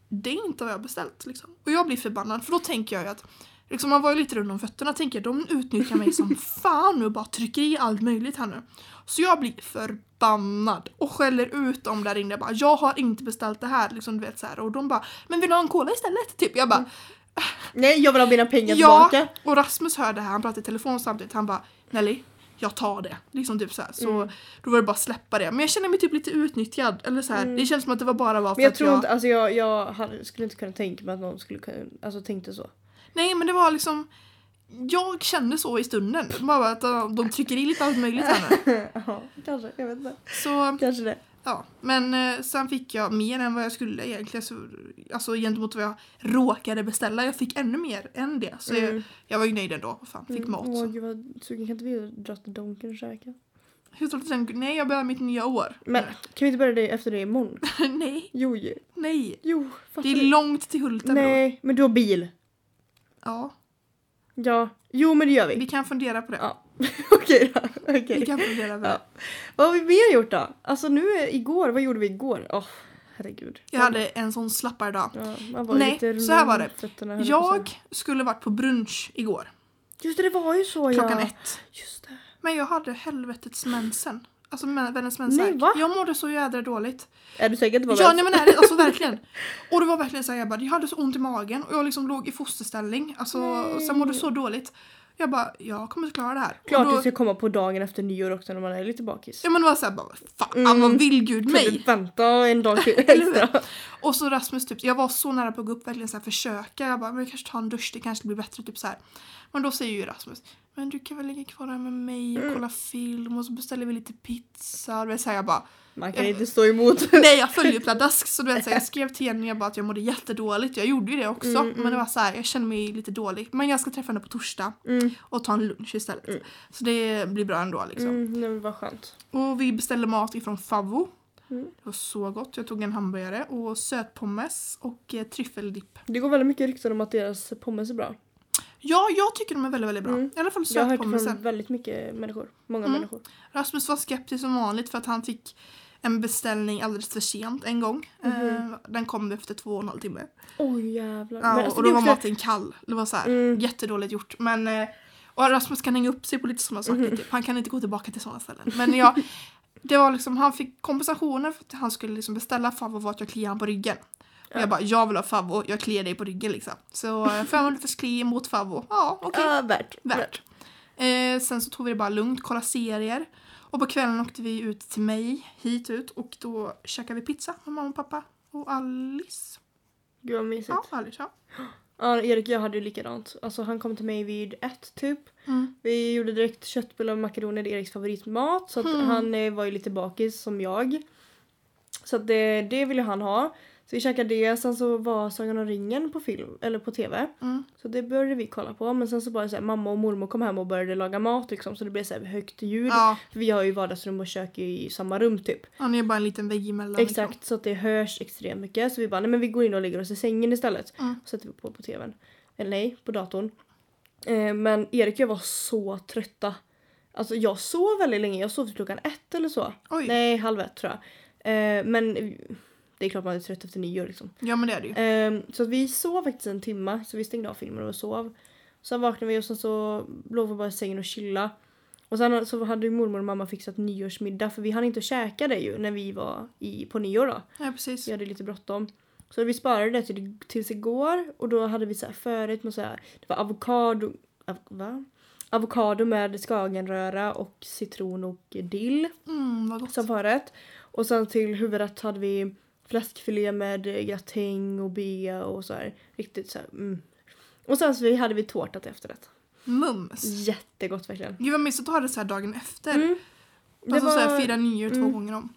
S1: Det är inte vad jag har beställt liksom. Och jag blir förbannad för då tänker jag ju att liksom, man var ju lite runt om fötterna tänker jag de utnyttjar mig som fan nu och bara trycker i allt möjligt här nu. Så jag blir förbannad och skäller ut dem där inne. Jag, bara, jag har inte beställt det här liksom du vet så här. och de bara men vill du ha en cola istället? Typ jag bara
S2: Nej jag vill ha mina pengar
S1: ja
S2: tillbaka.
S1: och Rasmus hör det här han pratar i telefon samtidigt han bara Nelly jag tar det. Liksom typ så här. Så
S2: Mm.
S1: då var det bara att släppa det. Men jag känner mig typ lite utnyttjad. Eller så här. Det känns som att det var bara var för
S2: Mm. Men jag
S1: att
S2: tror
S1: jag...
S2: inte, alltså jag, jag hade, skulle inte kunna tänka mig att någon skulle kunna, alltså
S1: (laughs)
S2: tänkte så.
S1: Nej men det var liksom... Jag kände så i stunden. Bara att ja, de trycker i lite allt möjligt här
S2: (laughs)
S1: nu.
S2: ja, kanske, jag vet inte.
S1: Så
S2: Kanske det.
S1: ja. Men eh, sen fick jag mer än vad jag skulle egentligen. Så, alltså gentemot vad jag råkade beställa. Jag fick ännu mer än det. Så
S2: Mm.
S1: jag, jag var ju nöjd ändå. Fan, fick mat.
S2: Åh
S1: Så.
S2: gud vad sugen, kan inte vi dra till Donken och käka?
S1: Hur tror du att den... Nej jag behöver mitt nya år.
S2: Men kan vi inte börja det efter det imorgon?
S1: (laughs) nej,
S2: Jo, ju.
S1: nej.
S2: jo. fattar
S1: Det
S2: du?
S1: är långt till Hulten bror.
S2: Nej, men du har bil.
S1: Ja,
S2: Ja. Jo, men det gör vi.
S1: vi kan fundera på det.
S2: Ja. (laughs) Okej då.
S1: Vi
S2: Okej.
S1: kan fundera på det.
S2: Ja. Vad har vi mer gjort då? Alltså nu är- igår, vad gjorde vi igår? Åh, herregud.
S1: Jag hade en sån slappare dag.
S2: Ja, man var
S1: Nej,
S2: lite
S1: så här var
S2: runt
S1: det.
S2: fötterna, höll på att säga.
S1: Jag skulle varit på brunch igår,
S2: Just det, det var ju så
S1: klockan
S2: ja.
S1: ett.
S2: Just det.
S1: Men jag hade helvetets mensen. Alltså mä- världens mensvärk.
S2: Nej, va?
S1: Jag mådde så jädra dåligt.
S2: Är du säker att det var
S1: Ja
S2: mens?
S1: nej men ärligt, alltså verkligen. Och det var verkligen så här, jag bara, jag hade så ont i magen och jag liksom låg i fosterställning. Alltså, och sen mådde så dåligt. Jag bara, jag kommer inte klara det här.
S2: Klart
S1: och
S2: det
S1: då,
S2: ska komma på dagen efter nyår också när man är lite bakis.
S1: ja men det var såhär bara, fan
S2: Mm.
S1: vad vill gud
S2: Kunde
S1: mig?
S2: Vänta en dag
S1: (laughs)
S2: till extra.
S1: Och så Rasmus, typ, jag var så nära på att gå upp verkligen så här, försöka. Jag bara, men jag kanske tar en dusch, det kanske blir bättre. Typ så här. Men då säger ju Rasmus, men du kan väl ligga kvar här med mig och kolla film och så beställer vi lite pizza. Och du vet, så här, jag bara,
S2: Man kan inte stå emot.
S1: nej jag följer pladask. Så du vet, så här, jag skrev till Jenny jag bara, att jag mådde jättedåligt. Jag gjorde ju det också. Men det var så här, jag kände mig lite dålig. Men jag ska träffa henne på torsdag och ta en lunch istället. Så det blir bra ändå liksom.
S2: Mm, nej, men vad skönt.
S1: Och vi beställde mat ifrån Favvo.
S2: Mm.
S1: Det var så gott. Jag tog en hamburgare och sötpommes och eh, tryffeldipp.
S2: Det går väldigt mycket rykten om att deras pommes är bra.
S1: Ja, jag tycker de är väldigt, väldigt bra. I alla fall
S2: Mm. Jag har hört det
S1: sötpommesen. Mm.
S2: från väldigt mycket människor. Många människor.
S1: Rasmus var skeptisk som vanligt för att han fick en beställning alldeles för sent en gång.
S2: Mhm.
S1: Eh, den kom efter två och en halv timme.
S2: Oj jävlar.
S1: Ja,
S2: Men alltså,
S1: och då
S2: det är
S1: var
S2: också- Mm.
S1: maten kall. Det var så här, jättedåligt gjort. Men, eh, och Rasmus kan hänga upp sig på lite sådana saker.
S2: Mm-hmm.
S1: Typ. Han kan inte gå tillbaka till sådana ställen. Men jag,
S2: (laughs)
S1: det var liksom, han fick kompensationen för att han skulle liksom beställa favvo var att jag kliade honom på ryggen. Och jag bara, jag vill ha favvo, jag kliar dig på ryggen liksom. Så eh, 500 liters kli mot favvo. Ja, okej.
S2: Ja, värt.
S1: Värt. Eh, sen så tog vi det bara lugnt, kollade serier. Och på kvällen åkte vi ut till mig, hit ut. Och då käkade vi pizza med mamma och pappa. Och Alice.
S2: Gud vad mysigt.
S1: Ja,
S2: Ja.
S1: Alice ja.
S2: Erik jag hade ju likadant. Alltså han kom till mig vid ett typ.
S1: Mm.
S2: Vi gjorde direkt köttbullar och makaroner, det är Eriks favoritmat. Så att
S1: Mm.
S2: han eh, var ju lite bakis som jag. Så att det, det ville han ha. Så vi käkade det, sen så var Sagan om ringen på film, eller på TV.
S1: Mm.
S2: Så det började vi kolla på. Men sen så bara så här, mamma och mormor kom hem och började laga mat liksom. Så det blev så här högt ljud.
S1: Ja.
S2: För vi har ju vardagsrum och kök i samma rum typ.
S1: Han är bara en liten vägg emellan. Liksom.
S2: Exakt, så att det hörs extremt mycket. Så vi bara, nej men vi går in och lägger oss i sängen istället.
S1: Mm.
S2: Och sätter vi på på tvn. Eller nej, på datorn. Eh, men Erik och jag var så trötta. Alltså jag sov väldigt länge, jag sov till klockan ett eller så.
S1: Oj.
S2: Nej, halv ett tror jag. Eh, men det är klart man är trött efter nyår liksom.
S1: Ja men det är det ju.
S2: Ehm, så att vi sov faktiskt en timma, så vi stängde av filmen och sov. Sen vaknade vi och sen så låg vi bara i sängen och chilla. Och sen så hade ju mormor och mamma fixat nyårsmiddag för vi hann inte käka det ju när vi var i, på nyår då.
S1: Ja precis.
S2: Vi hade lite bråttom. Så vi sparade det till, tills igår och då hade vi så här förrätt med så här, det var avokado, av, va? avokado med skagenröra och citron och dill
S1: Mm, vad gott.
S2: som förrätt. Och sen till huvudrätt hade vi fläskfilé med eh, gratäng och bea och så här. Riktigt så här, mm. Och sen så vi- hade vi tårta till efterrätt.
S1: Mums.
S2: Jättegott verkligen.
S1: Gud vad mysigt att ha det så här dagen efter.
S2: Mm. Det,
S1: Alltså så här,
S2: var, mm.
S1: fira nyår två gånger om.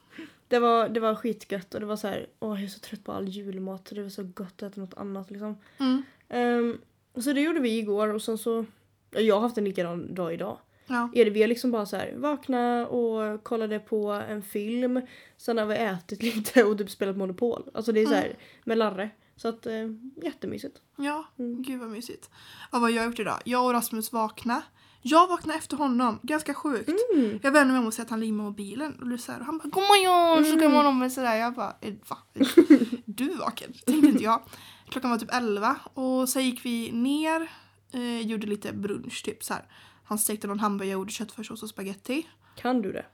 S2: det, var, det var skitgött och det var så här, åh jag är så trött på all julmat. Det var så gott att äta något annat liksom.
S1: Mm.
S2: Ehm, så det gjorde vi igår och sen så, ja, jag har haft en likadan dag idag.
S1: Ja.
S2: Är det vi har liksom bara så här vakna och kollade på en film. Sen har vi ätit (laughs) lite och typ spelat Monopol. Alltså det är så här med Larre. Så att eh, jättemysigt.
S1: Ja,
S2: Mm.
S1: gud vad mysigt. Ja, vad jag har gjort idag? Jag och Rasmus vakna. Jag vaknade efter honom, ganska sjukt.
S2: Mm.
S1: Jag vände mig om och ser att han ligger med mobilen. Och, du så här, och han bara “God morgon!” så
S2: Mm.
S1: kommer honom med sådär. Jag bara "Eh, “Va?
S2: (laughs)
S1: Är Du vaken?” tänkte inte jag. Klockan var typ 11 och sen gick vi ner, eh, gjorde lite brunch typ så här. Han stekte någon hamburgare, jag gjorde köttfärssås och spaghetti.
S2: Kan du det?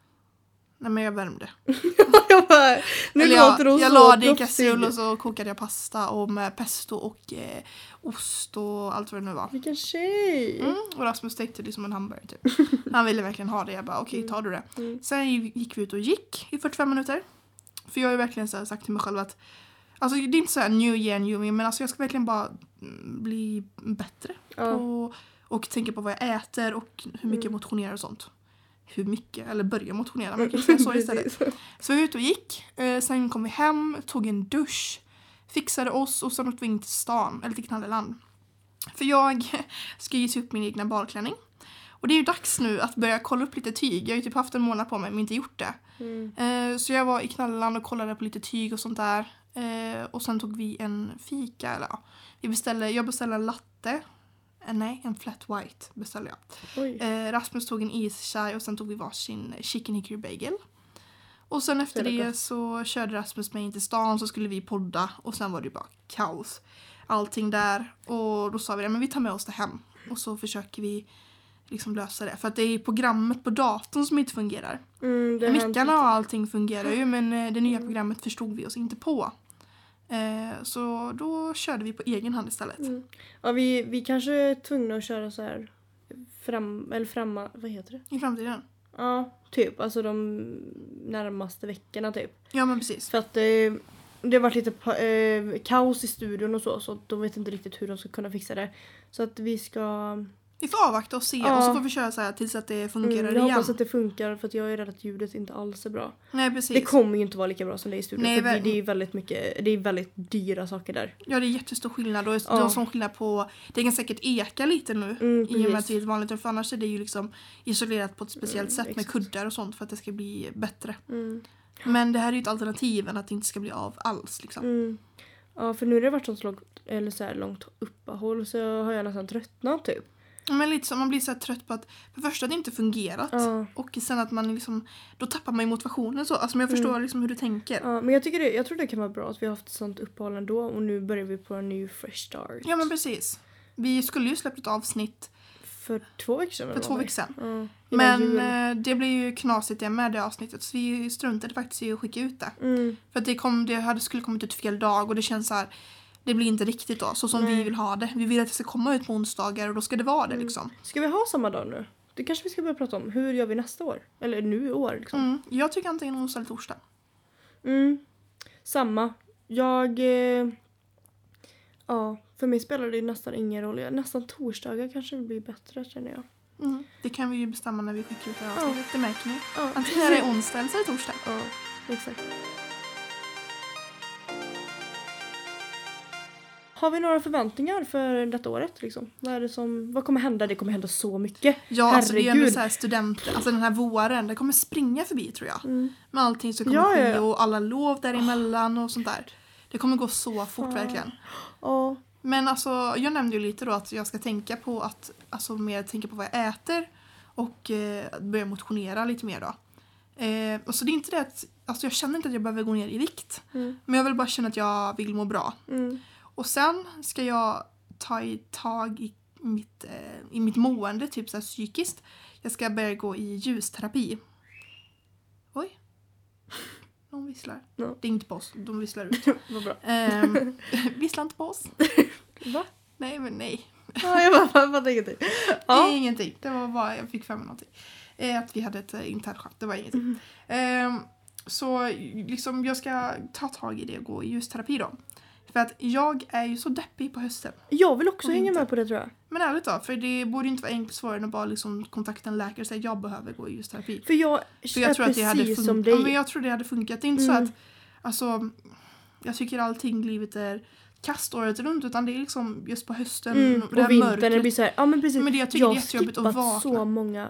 S1: Nej men jag värmde.
S2: (laughs) jag bara, nu
S1: Eller
S2: låter hon
S1: jag, jag
S2: så
S1: la det i
S2: proffsig.
S1: kastrull och så kokade jag pasta och med pesto och eh, ost och allt vad det nu var.
S2: Vilken tjej!
S1: Mm, och Rasmus täckte liksom en hamburgare
S2: (laughs)
S1: typ. Han ville verkligen ha det. Jag bara okej, tar du det?
S2: Mm.
S1: Sen gick vi ut och gick i 45 minuter. För jag har ju verkligen så här sagt till mig själv att Alltså det är inte så här new year new me men alltså jag ska verkligen bara mm, bli bättre
S2: Ja. Mm.
S1: på och tänka på vad jag äter och hur mycket jag motionerar och sånt. Hur mycket? Eller börja motionera. Man kan ju säga (laughs) så istället.
S2: Precis.
S1: Så vi var ute och gick, eh, sen kom vi hem, tog en dusch, fixade oss och sen åkte vi in till stan, eller till Knalleland. För jag (laughs) ska ju sy upp min egna balklänning. Och det är ju dags nu att börja kolla upp lite tyg. Jag har ju typ haft en månad på mig men inte gjort det.
S2: Mm.
S1: Eh, Så jag var i Knalleland och kollade på lite tyg och sånt där. Eh, Och sen tog vi en fika, eller ja. Vi beställde, jag beställde en latte. Eh, Nej, en flat white beställde jag.
S2: (laughs) Oj.
S1: Eh, Rasmus tog en ischaj och sen tog vi varsin chicken hickory bagel. Och sen efter
S2: Jävla
S1: det så körde Rasmus mig in till stan så skulle vi podda och sen var det ju bara kaos. Allting där och då sa vi det, men vi tar med oss det hem och så försöker vi liksom lösa det. För att det är programmet på datorn som inte fungerar.
S2: Mm, det har hänt. Mm.
S1: Mickarna och allting fungerar ju men eh, det nya programmet förstod vi oss inte på. Eh, Så då körde vi på egen hand istället.
S2: Mm. Ja, vi, vi kanske är tvungna att köra så här fram, eller framma, vad heter det?
S1: I framtiden.
S2: Ja, typ. Alltså de närmaste veckorna typ.
S1: Ja men precis.
S2: För att eh, det har varit lite pa- eh, kaos i studion och så, så att de vet inte riktigt hur de ska kunna fixa det. Så att vi ska... mm,
S1: Vi får avvakta och se
S2: Ja.
S1: och så får vi köra så här tills att det fungerar
S2: Mm, jag
S1: igen.
S2: hoppas att det funkar för att jag är rädd att ljudet inte alls är bra.
S1: Nej precis.
S2: Det kommer ju inte vara lika bra som det är i studion
S1: Nej,
S2: för det,
S1: ver-
S2: det är ju väldigt mycket, det är väldigt dyra saker där.
S1: Ja det är jättestor skillnad och det
S2: Ja.
S1: är sån skillnad på Det kan säkert eka lite nu
S2: Mm,
S1: i och med
S2: precis. Mm,
S1: att det är ett vanligt rum, för annars är det ju liksom isolerat på ett speciellt sätt med
S2: exakt.
S1: kuddar och sånt för att det ska bli bättre.
S2: Mm.
S1: Men det här är ju ett alternativ än att det inte ska bli av alls liksom.
S2: Mm. Ja för nu har det varit sånt långt, eller så här långt uppehåll så har jag nästan tröttnat typ.
S1: Men lite så, man blir så här trött på att för det första att det inte fungerat
S2: Ja.
S1: och sen att man liksom Då tappar man ju motivationen så. Alltså men jag förstår liksom hur du tänker. Ja.
S2: Mm. Ja, men jag, tycker det, jag tror det kan vara bra att vi har haft ett sånt uppehåll ändå och nu börjar vi på en ny fresh start.
S1: men precis. Vi skulle ju släppt ett avsnitt
S2: För två veckor sedan
S1: för
S2: eller
S1: två
S2: vad
S1: veckor sedan.
S2: var det? Ja, innan
S1: Men
S2: jul.
S1: eh, det blev ju knasigt det med det avsnittet så vi struntade faktiskt i att skicka ut det.
S2: Mm.
S1: För att det, kom, det hade skulle kommit ut fel dag och det känns så här det blir inte riktigt då, så som vi vill ha det. Vi vill att det ska komma ut på onsdagar och då ska det vara
S2: Mm.
S1: det liksom.
S2: Ska vi ha samma dag nu? Det kanske vi ska börja prata om. Hur gör vi nästa år? Eller nu i år liksom.
S1: Mm. Jag tycker antingen onsdag eller torsdag.
S2: Mm. Samma. Jag... Eh... Ja, för mig spelar det ju nästan ingen roll. Jag, nästan torsdagar kanske blir bättre känner jag.
S1: Mm. Det kan vi ju bestämma när vi skickar ut det här
S2: Ja.
S1: avsnittet, det märker ni.
S2: Ja,
S1: Antingen är det onsdag eller så är det torsdag.
S2: (laughs) ja exakt. Har vi några förväntningar för detta året? Liksom? Vad, är det som, vad kommer hända? Det kommer hända så mycket.
S1: Ja, alltså det är ju ändå
S2: Herregud.
S1: så här studenter, alltså den här våren, det kommer springa förbi tror jag.
S2: Mm.
S1: Med allting som kommer
S2: Ja, ja,
S1: ske
S2: ja.
S1: och alla lov däremellan och sånt där. Det kommer gå så fort verkligen.
S2: Ja.
S1: Men alltså, jag nämnde ju lite då att jag ska tänka på att alltså, mer tänka på vad jag äter och eh, att börja motionera lite mer då. Eh, och så det är inte det att, alltså jag känner inte att jag behöver gå ner i vikt.
S2: Mm.
S1: Men jag vill bara känna att jag vill må bra.
S2: Mm.
S1: Och sen ska jag ta i tag i mitt, eh, i mitt mående, typ så här psykiskt. Jag ska börja gå i ljusterapi. Oj. Någon visslar.
S2: Ja.
S1: Det är inte på oss, de visslar ut.
S2: Vad bra.
S1: (laughs) Ehm, vissla inte på oss.
S2: (laughs) Va?
S1: Nej men nej.
S2: Ja, jag bara jag fattar ingenting.
S1: Det
S2: Ja.
S1: är ingenting. Det var bara, jag fick för mig någonting. Eh, att vi hade ett eh, internt skämt, det var ingenting.
S2: Mhm.
S1: Ehm, så liksom, jag ska ta tag i det och gå i ljusterapi då. För att jag är ju så deppig på hösten.
S2: Jag vill också
S1: Och
S2: hänga
S1: vinter.
S2: med på det tror jag.
S1: Men ärligt då, för det borde ju inte vara enkelt svårare än att bara liksom kontakta en läkare och säga jag behöver gå i ljusterapi.
S2: För jag,
S1: För jag
S2: är
S1: tror att det
S2: precis
S1: hade
S2: som
S1: funkat.
S2: dig.
S1: Ja, men jag tror det hade funkat. Det är inte
S2: Mm.
S1: så att, alltså, jag tycker allting i livet är kast året runt utan det är liksom just på hösten,
S2: Mm,
S1: det här
S2: och vintern
S1: mörkret.
S2: det blir såhär, ja men precis.
S1: Men det- jag tycker det är jättejobbigt att
S2: Jag har
S1: vakna.
S2: skippat så många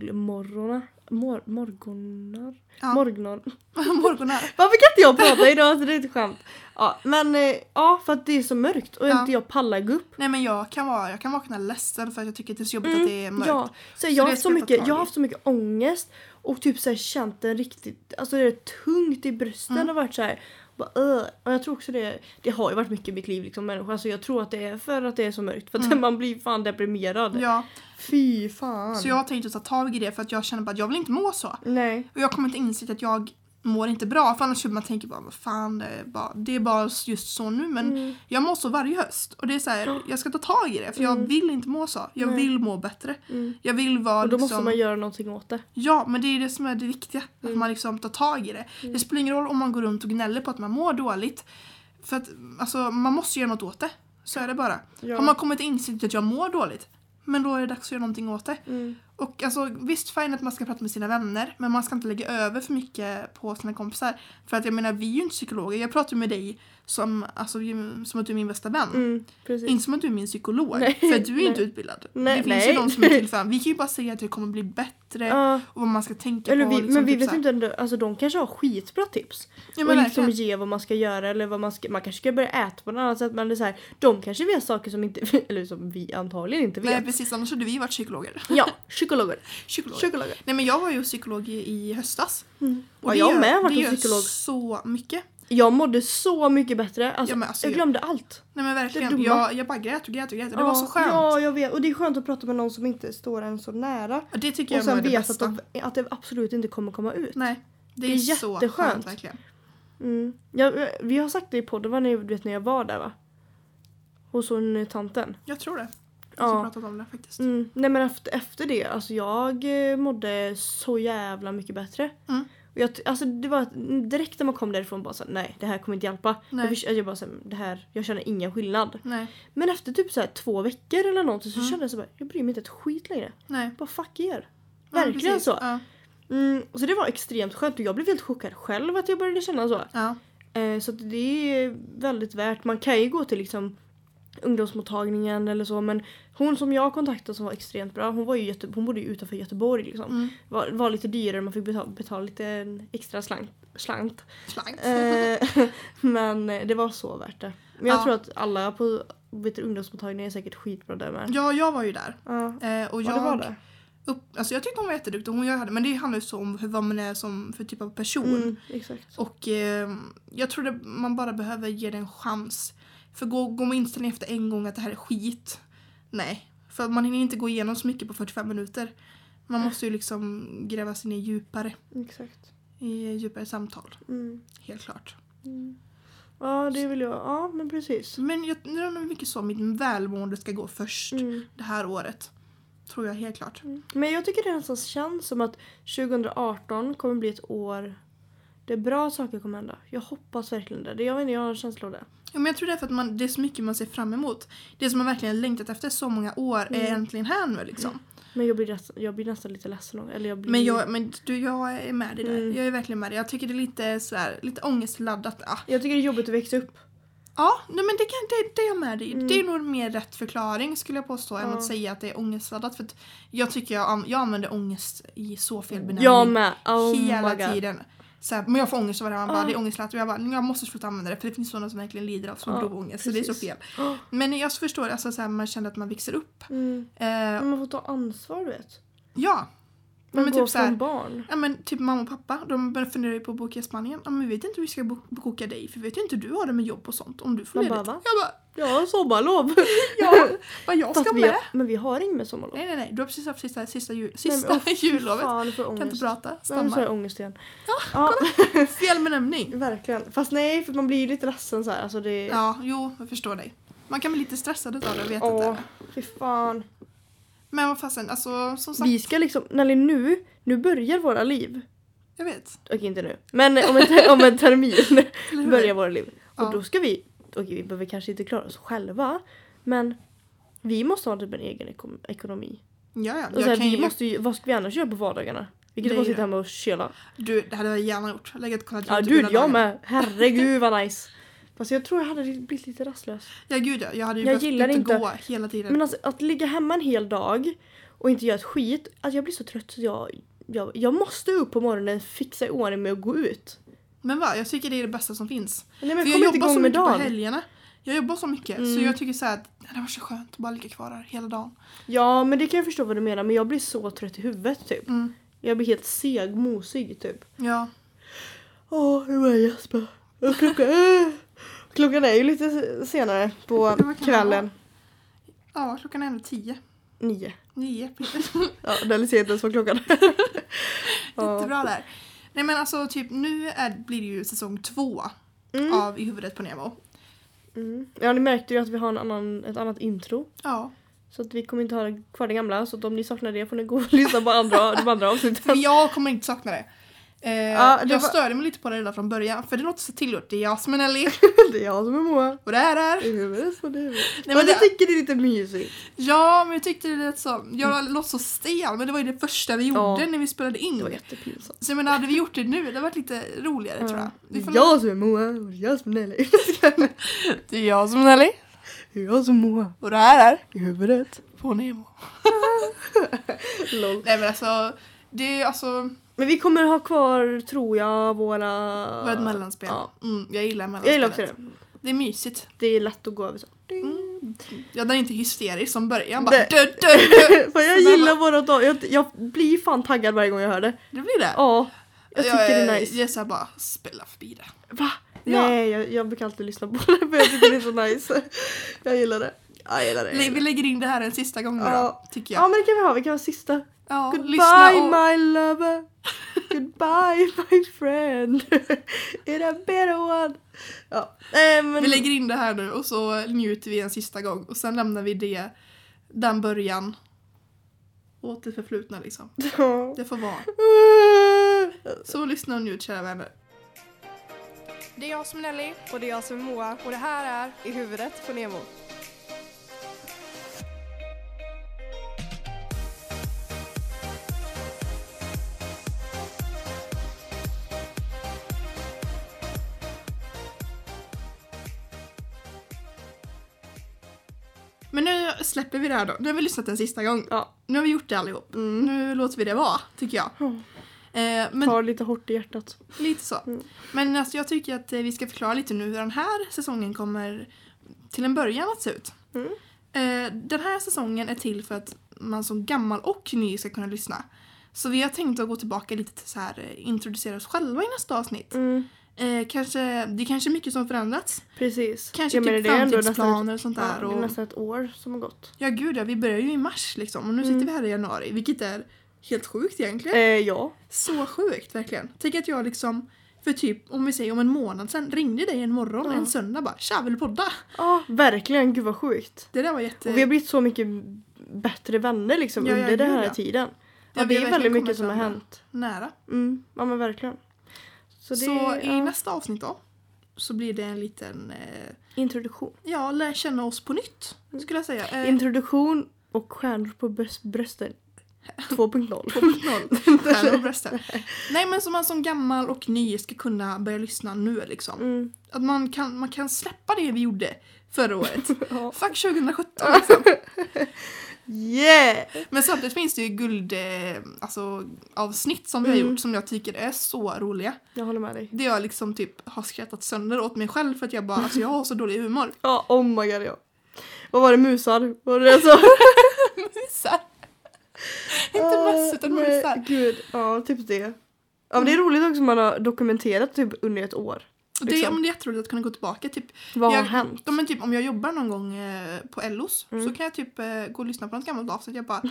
S2: skolmorgonar. Mor- morgonar?
S1: Ja.
S2: Morgnar.
S1: (laughs) Morgonar.
S2: Varför kan inte jag prata idag? Alltså, det är ett skämt. Ja men eh, ja för att det är så mörkt och
S1: Ja.
S2: inte jag pallar gå upp.
S1: Nej men jag kan, vara, jag kan vakna ledsen för att jag tycker att det är så jobbigt att det är mörkt.
S2: Mm, Ja, så
S1: det
S2: jag, har haft
S1: ska
S2: så
S1: jag ta
S2: mycket,
S1: tag
S2: jag har
S1: i.
S2: haft så mycket
S1: Mm.
S2: ångest och typ så här känt en riktigt, alltså det är tungt i brösten har varit så här. Bara, "Ugh." och jag tror också det, det har ju varit mycket i mitt liv liksom människa så jag tror att det är för att det är så mörkt. För att (laughs) man blir fan deprimerad.
S1: Mm. Ja,
S2: Fy fan.
S1: så jag har tänkt att ta tag i det för att jag känner bara att jag vill inte må så.
S2: Nej.
S1: Och jag kommer inte inse att jag mår inte bra för annars skulle man tänker bara vad fan det är bara, det är bara just så nu men
S2: Mm.
S1: jag mår så varje höst och det är så här, jag ska ta tag i det för jag
S2: Mm.
S1: vill inte må så. Jag vill må bättre. Jag vill vara
S2: Och då
S1: liksom,
S2: måste man Mm. göra någonting åt det.
S1: Ja, men det är det som är det viktiga. Att man liksom tar tag i det.
S2: Mm.
S1: Det spelar ingen roll om man går runt och gnäller på att man mår dåligt. För att alltså, man måste göra något åt det. Så är det bara.
S2: Ja.
S1: Har man kommit till insikt att jag mår dåligt, men då är det dags att göra någonting åt det.
S2: Mm.
S1: Och alltså, visst, fine att man ska prata med sina vänner, men man ska inte lägga över för mycket på sina kompisar. För att jag menar, vi är ju inte psykologer. Jag pratar med dig som, alltså, som att du är min bästa vän.
S2: Mm, precis.
S1: Inte som att du är min psykolog,
S2: Nej,
S1: för att du är
S2: nej.
S1: inte utbildad.
S2: Nej,
S1: det finns
S2: nej.
S1: ju de som är
S2: (laughs)
S1: till för Vi kan ju bara säga att det kommer bli bättre
S2: Ja.
S1: och vad man ska tänka
S2: Eller
S1: på.
S2: vi,
S1: liksom,
S2: men vi
S1: typ
S2: vet
S1: såhär.
S2: inte, ändå- alltså de kanske har skitbra tips.
S1: Ja, men
S2: och liksom
S1: verkligen.
S2: ge vad man ska göra eller vad man ska, man kanske ska börja äta på något annat sätt men det är så här, de kanske vet saker som inte, (laughs) eller som vi antagligen inte vet.
S1: Nej precis, annars hade vi varit psykologer. (laughs)
S2: Ja, psykologer.
S1: psykologer.
S2: Psykologer.
S1: Nej men jag var ju psykolog i, i höstas.
S2: Mm. Ja, jag
S1: gör-
S2: med har varit
S1: det
S2: en
S1: gör
S2: psykolog.
S1: så mycket.
S2: Jag mådde så mycket bättre. Alltså,
S1: Ja, men alltså,
S2: jag
S1: jag-
S2: glömde allt.
S1: Nej men
S2: Det är
S1: verkligen,
S2: dumma.
S1: jag, jag bara grät och grät och grät. Det var
S2: Ja,
S1: så skönt.
S2: Ja, jag vet. Och det är skönt att prata med någon som inte står en så nära.
S1: Det tycker
S2: Och
S1: jag var
S2: sen
S1: det
S2: vet att,
S1: bästa.
S2: de, att det absolut inte kommer komma ut.
S1: Nej, det
S2: Det
S1: är,
S2: är
S1: så
S2: jätteskönt.
S1: skönt verkligen.
S2: Mm. Jag, vi har sagt det i podden, vad ni, du vet när jag var där va? Hos hon eh, tanten.
S1: Jag tror det. Vi
S2: Ja.
S1: har pratat om det faktiskt.
S2: Mm. Nej men efter, efter det, alltså jag eh, mådde så jävla mycket bättre.
S1: Mm.
S2: Och jag, t- alltså det var att direkt när man kom därifrån bara så här, nej det här kommer inte hjälpa.
S1: Nej.
S2: Jag, förs- jag bara så här, det här, jag känner ingen skillnad.
S1: Nej,
S2: Men efter typ så här två veckor eller någonting så
S1: Mm.
S2: kände jag så bara, jag bryr mig inte ett skit längre.
S1: nej.
S2: Bara fuck er.
S1: Ja,
S2: Verkligen
S1: precis.
S2: så.
S1: Ja.
S2: Mm, så det var extremt skönt och jag blev helt chockad själv att jag började känna så.
S1: ja.
S2: Eh, så att det är väldigt värt. Man kan ju gå till liksom ungdomsmottagningen eller så men hon som jag kontaktade som var extremt bra hon, var ju Göte- hon bodde ju utanför Göteborg liksom.
S1: Mm.
S2: Var, var lite dyrare man fick betala, betala lite extra slant. slant.
S1: Slank.
S2: Eh, (laughs) men det var så värt det. Men jag
S1: Ja.
S2: tror att alla på vet, du, ungdomsmottagningen är säkert skitbra där
S1: (laughs)
S2: med.
S1: Ja, jag var ju där.
S2: Ja.
S1: Eh, och
S2: Ja,
S1: jag,
S2: det var det.
S1: Upp, alltså jag tyckte hon var jätteduktig, hon gör, men det handlar ju så om hur, vad man är som för typ av person.
S2: Mm, exakt.
S1: Och eh, jag tror att man bara behöver ge det en chans. För gå, går man inställning efter en gång att det här är skit, nej. För man hinner inte gå igenom så mycket på 45 minuter. Man måste ju liksom gräva sig ner djupare
S2: exakt.
S1: i djupare samtal,
S2: Mm.
S1: helt klart.
S2: Ja det vill jag, ja men precis.
S1: Men jag det är nog mycket så mitt välmående ska gå först
S2: Mm.
S1: det här året. Tror jag helt klart.
S2: Men jag tycker det nästan känns som att 2018 kommer bli ett år där bra saker kommer hända. Jag hoppas verkligen det. Det- Jag vet inte, jag har en känsla av det.
S1: Ja, men jag tror det är för att man, det är så mycket man ser fram emot. Det som man verkligen längtat efter så många år är
S2: Mm.
S1: äntligen här nu liksom.
S2: Men jag blir, nästan- jag blir nästan lite ledsen. om- Eller jag blir...
S1: Men, jag, men du, jag är med dig där.
S2: Mm.
S1: Jag är verkligen med dig. Jag tycker det är lite, sådär, lite ångestladdat. Ah.
S2: jag tycker det är jobbigt att växa upp.
S1: Ja, nej, men det, kan, det, det är jag med dig i. Det är nog mer rätt förklaring skulle jag påstå än
S2: Mm. Ja.
S1: att säga att det är ångestladdat. För att jag tycker jag, an- jag använder ångest i så fel benämning.
S2: Jag med! Oh my
S1: hela
S2: God.
S1: tiden. Så här, men jag får ångest av det här. Man bara,
S2: Ah.
S1: det är ångestladdat. Och jag bara, jag måste sluta använda det. För det finns sådana som verkligen lider av så
S2: Ja,
S1: grov ångest. Så det är så
S2: Ah, precis.
S1: fel.
S2: Oh.
S1: Men jag förstår, alltså, så här, man känner att man växer upp.
S2: (gasps) Mm.
S1: Eh,
S2: Men Man får ta ansvar du vet.
S1: ja.
S2: Man
S1: men
S2: går
S1: typ så här-
S2: från barn.
S1: Ja men typ mamma och pappa, de började fundera på att boka i Spanien. Ja men vi vet inte hur vi ska bo- boka dig för vi vet ju inte hur du har det med jobb och sånt. Om du får
S2: Man
S1: ledigt.
S2: bara, va?
S1: Jag bara,
S2: Jag har sommarlov!
S1: (laughs)
S2: (laughs)
S1: ja, vad jag
S2: Fast
S1: ska
S2: vi
S1: med.
S2: har, men vi har inget sommarlov.
S1: Nej nej nej, du har precis haft sista, sista, ju,
S2: Nej,
S1: sista
S2: men, åh, fy
S1: (laughs) jullovet.
S2: Fan, nu får jag
S1: Kan inte
S2: ångest.
S1: prata,
S2: Nej, Nu får jag
S1: stammar.
S2: ångest igen. Ja,
S1: Fel
S2: Mm.
S1: benämning.
S2: (laughs) verkligen. Fast nej, för man blir ju lite ledsen så här. Alltså det...
S1: Ja, jo jag förstår dig. Man kan bli lite stressad utav det, jag vet
S2: Åh,
S1: inte.
S2: fy fan.
S1: Men vad fasen, alltså som sagt,
S2: Vi ska liksom, Nelly nu, nu börjar våra liv.
S1: jag vet.
S2: Okej inte nu, men om en, ter- om en termin
S1: Eller hur?
S2: börjar våra liv. Och
S1: Ja.
S2: då ska vi, okej vi behöver kanske inte klara oss själva, men vi måste ha typ en egen eko- ekonomi.
S1: Ja, ja.
S2: Och så
S1: Jag
S2: här,
S1: kan
S2: Alltså, vi
S1: ju,
S2: måste ju, vad ska vi annars göra på vardagarna? Vi kan
S1: Det
S2: inte
S1: är
S2: bara
S1: ju
S2: sitta
S1: det.
S2: hemma och kyla.
S1: du, det hade jag gärna gjort. Legat och kollat
S2: Ja
S1: YouTube
S2: du,
S1: hela
S2: jag
S1: dagen.
S2: med! Herregud vad nice! Fast jag tror jag hade blivit lite rastlös.
S1: Ja gud ja, jag hade ju
S2: Jag
S1: behövt
S2: gillar inte-
S1: gå hela tiden.
S2: Men alltså att ligga hemma en hel dag och inte göra ett skit. Alltså jag blir så trött så jag, jag, jag måste upp på morgonen fixa i ordning med att gå ut.
S1: Men va, jag tycker det är det bästa som finns.
S2: Nej men
S1: För
S2: kom
S1: jag
S2: inte
S1: jobbar så
S2: igång med
S1: mycket på
S2: dagen. Mm.
S1: helgerna. Jag jobbar så mycket så jag tycker så här att "Nej, det var så skönt att bara ligga kvar här hela dagen.
S2: Ja men det kan jag förstå vad du menar men jag blir så trött i huvudet typ.
S1: Mm.
S2: Jag blir helt segmosig typ.
S1: Ja,
S2: Åh nu är jag Jesper. Och Klockan, (laughs) eh, klockan är ju lite senare på
S1: Det var kanske
S2: kvällen.
S1: Ja, klockan är ändå tio.
S2: Nio.
S1: Nio, (laughs) Peter.
S2: Ja, den är sent ens vad klockan (laughs) är. ja.
S1: Jättebra där. Nej men alltså typ nu är, blir det ju säsong två
S2: Mm,
S1: av I huvudet på Nemo.
S2: mm. ja, ni märkte ju att vi har en annan, ett annat intro.
S1: Ja.
S2: Så att vi kommer inte ha kvar det gamla. Så att om ni saknar det får ni gå och (laughs) lyssna på andra, de
S1: För
S2: andra avsnitten.
S1: jag kommer inte sakna det. Eh,
S2: Ja, det
S1: jag
S2: var-
S1: störde mig lite på det redan från början för det låter så tillgjort. Det är Jasmin Ellie
S2: Det är jag som är Moa.
S1: och det här är...
S2: I huvudet så det är huvudet.
S1: men
S2: Nej, men
S1: det-
S2: jag tycker det är lite mysigt.
S1: Ja men jag tyckte det lät så... Jag låter så stel men det var ju det första vi gjorde
S2: Mm. Ja.
S1: när vi spelade
S2: Det var
S1: in.
S2: jättepinsamt.
S1: Så jag menar hade vi gjort det nu det hade varit lite roligare tror jag. Vi får-
S2: Jag som är Moa och jag som är Nelly. (laughs)
S1: Det är Jasmin Ellie
S2: Jag som är Moa
S1: och det här är...
S2: i huvudet.
S1: På Nemo.
S2: Lol.
S1: Nej men alltså det är alltså...
S2: Men vi kommer ha kvar, tror jag, våra...
S1: Var ett mellanspel.
S2: Ja.
S1: Mm, jag gillar mellanspelet.
S2: Jag gillar också det.
S1: Det är mysigt.
S2: Det är lätt att gå över så.
S1: Ja, den är inte hysterisk som början. Bara,
S2: Det-
S1: dö, dö, dö.
S2: (laughs) För jag gillar våra dagar. Jag, jag blir fan taggad varje gång jag hör det.
S1: Det blir det.
S2: Ja, jag tycker det är nice.
S1: Jag är såhär bara, spela förbi det.
S2: Va?
S1: Ja.
S2: Nej, jag, jag brukar alltid lyssna på det för jag tycker det är så nice. (laughs) Jag gillar det. Jag gillar det. jag
S1: Vi
S2: gillar
S1: vi
S2: det.
S1: lägger in det här en sista gång nu
S2: Ja.
S1: då, tycker
S2: Ja
S1: jag.
S2: men det kan vi ha, vi kan ha sista.
S1: Ja, lyssna
S2: Goodbye
S1: och...
S2: my lover. Goodbye my friend. (laughs) It a better one. Ja. Äh, men,
S1: Vi lägger in det här nu och så njuter vi en sista gång och sen lämnar vi det, den början. Åt det förflutna liksom.
S2: Ja.
S1: Det får vara. Så lyssna och njut kära vänner.
S4: Det är jag som är Nelly. Och det är jag som är Moa. Och det här är I huvudet på Nemo.
S1: Men nu släpper vi det här då. Nu har vi lyssnat en sista gång.
S2: Ja.
S1: Nu har vi gjort det allihop.
S2: Mm.
S1: Nu låter vi det vara, tycker jag.
S2: Ja.
S1: Eh, men
S2: Tar lite hårt i hjärtat.
S1: Lite så.
S2: Mm.
S1: Men alltså, jag tycker att eh, vi ska förklara lite nu hur den här säsongen kommer till en början att se ut.
S2: Mm.
S1: Eh, Den här säsongen är till för att man som gammal och ny ska kunna lyssna. Så vi har tänkt att gå tillbaka lite till så här, eh, introducera oss själva i nästa avsnitt.
S2: Mm,
S1: Eh, kanske, det är kanske mycket som förändrats.
S2: Precis.
S1: Kanske
S2: Jag menar,
S1: typ
S2: det är ändå nästan ett-
S1: framtidsplaner och sånt
S2: Ja,
S1: där.
S2: det är
S1: Och,
S2: nästan ett år som har gått.
S1: ja gud ja, vi börjar ju i mars liksom och nu
S2: Mm.
S1: sitter vi här i januari vilket är helt sjukt egentligen.
S2: Eh, ja.
S1: Så sjukt verkligen. Tänk att jag liksom för typ om vi säger om en månad sen ringde dig en morgon en söndag bara tja vill du podda?
S2: Ja, verkligen. Gud vad sjukt.
S1: Det där var jätte...
S2: Och vi har blivit så mycket bättre vänner liksom
S1: Ja, ja,
S2: under den
S1: gud,
S2: här
S1: ja.
S2: tiden.
S1: Ja,
S2: Ja,
S1: vi
S2: det
S1: har
S2: är väldigt
S1: verkligen
S2: mycket
S1: kommit
S2: som har
S1: varandra.
S2: hänt.
S1: Nära.
S2: Mm, ja men verkligen. Så
S1: Så,
S2: det
S1: i
S2: är ja,
S1: nästa avsnitt då så blir det en liten eh,
S2: introduktion.
S1: ja lär känna oss på nytt skulle jag säga. Eh,
S2: Introduktion och stjärnor på
S1: (laughs)
S2: bröst, brösten 2.0. (laughs)
S1: 2.0. Stjärnor och brösten. Nej men som man som gammal och ny ska kunna börja lyssna nu liksom.
S2: Mm.
S1: Att man kan, man kan släppa det vi gjorde förra året.
S2: (laughs) Ja.
S1: Fuck
S2: (laughs)
S1: 2017 liksom.
S2: Yeah!
S1: Men samtidigt finns det ju guld, eh, alltså, avsnitt som vi har
S2: Mm.
S1: gjort som jag tycker är så roliga.
S2: Jag håller med dig.
S1: Det jag liksom typ har skrattat sönder åt mig själv för att jag bara, alltså jag har så dålig humor. (laughs)
S2: Ja, oh my god ja. Vad var det musar? Var det så?
S1: Musar. (laughs) Inte möss utan
S2: Ah, Nej,
S1: musar. Mm.
S2: Gud, ja typ det. Ja men det är roligt också man har dokumenterat typ under ett år.
S1: Och Det,
S2: liksom.
S1: men det är jätteroligt att kunna gå tillbaka. Typ,
S2: Vad
S1: jag, (clears throat)
S2: har hänt?
S1: Ja, men typ, om jag jobbar någon gång eh, på Ellos
S2: Mm.
S1: så kan jag typ eh, gå och lyssna på något gammalt avsnitt. Jag
S2: (laughs)
S1: bara,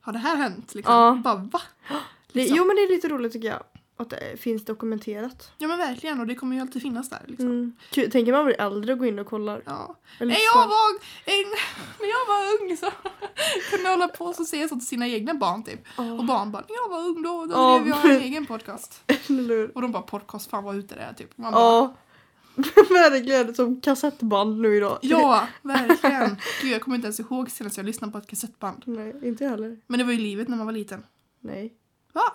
S1: har det här hänt? Liksom.
S2: Ja.
S1: Bara, va?
S2: Det,
S1: liksom.
S2: jo men det är lite roligt tycker jag. Att det finns dokumenterat.
S1: Ja men verkligen och det kommer ju alltid finnas där. Liksom.
S2: Mm. Kul, Tänker man blir äldre och går in och kollar.
S1: Ja.
S2: Eller
S1: Nej,
S2: så-
S1: jag var, en, (laughs) när jag var ung så (laughs) kunde jag hålla på och säga så till sina egna barn typ.
S2: Ja.
S1: Och barn bara, när jag var ung då, då
S2: Ja,
S1: drev jag en
S2: men-
S1: egen podcast.
S2: (laughs) Eller hur?
S1: Och de bara, podcast, fan vad ute det är typ. Man bara,
S2: Ja. (laughs) Verkligen som kassettband nu idag.
S1: ja, verkligen. Gud, jag kommer inte ens ihåg senast jag lyssnade på ett kassettband.
S2: (laughs) Nej, inte jag heller.
S1: Men det var ju livet när man var liten.
S2: Nej.
S1: Va?
S2: Va?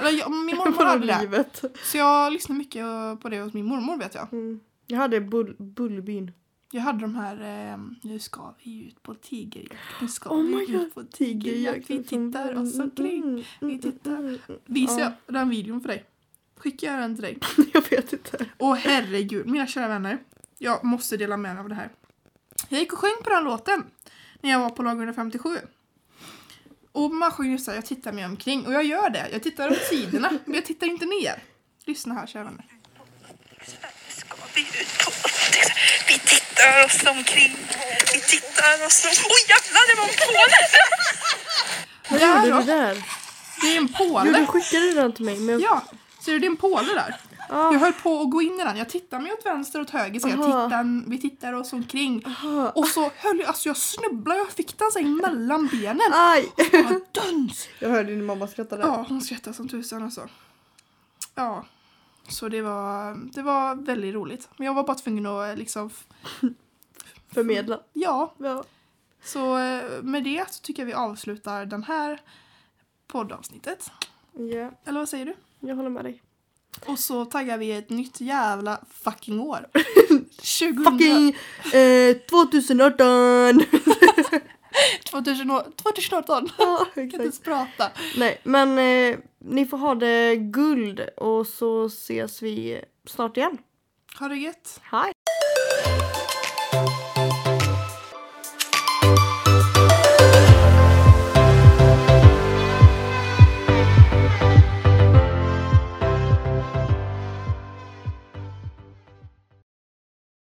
S1: Eller,
S2: (laughs)
S1: jag, min mormor
S2: Bara
S1: hade det.
S2: livet.
S1: Så jag lyssnade mycket eh, på det hos min mormor vet jag.
S2: Mm. Jag hade bull, Bullbyn.
S1: Jag hade de här, eh, nu ska vi ut på tigerjakt, nu ska
S2: Oh my
S1: vi ut
S2: God,
S1: på tigerjakt, vi
S2: mm,
S1: tittar oss omkring. Vi tittar. Visar
S2: Ja.
S1: jag den videon för dig? Skickar jag den till dig?
S2: mm. (laughs) Jag vet inte.
S1: Åh herregud, mina kära vänner. Jag måste dela med mig av det här. Jag gick och sjöng på den låten när jag var på lag 157. Och man sjunger så här, jag tittar mig omkring. Och jag gör det. Jag tittar åt sidorna, men jag tittar inte ner. Lyssna här kära vänner.
S5: Ska vi ut på. Vi tittar oss omkring. Vi tittar oss omkring. Oj jävlar, det var en påle!
S2: Vad
S1: Där
S2: gjorde
S1: då?
S2: du där?
S1: Det är en
S2: Jo, du
S1: påle.
S2: skickade den till mig. Men jag...
S1: Ja, ser du det är en påle där?
S2: Ah.
S1: Jag höll på att gå in i den. Jag tittar mig åt vänster och åt höger. Så jag
S2: Aha.
S1: tittar, vi tittar oss omkring.
S2: Aha.
S1: Och så höll jag, alltså jag snubblade. Jag fick den sig mellan benen.
S2: Aj! (laughs)
S1: Bara duns!
S2: Jag hörde din mamma skratta där.
S1: Ja, hon skrattade som tusan alltså. Ja. Så det var, det var väldigt roligt. Men jag var bara tvungen att liksom,
S2: Förmedla.
S1: ja.
S2: Ja.
S1: Så eh, med det så tycker jag vi avslutar den här poddavsnittet.
S2: ja,
S1: Eller vad säger du?
S2: jag håller med dig.
S1: Och så taggar vi ett nytt jävla fucking år. 2000,
S2: Fucking eh, 2018!
S1: (laughs) 2018. 2018.
S2: ja,
S1: Jag kan inte
S2: exakt.
S1: ens prata.
S2: Nej, men eh, ni får ha det guld och så ses vi snart igen.
S1: Ha det gött.
S2: Hej!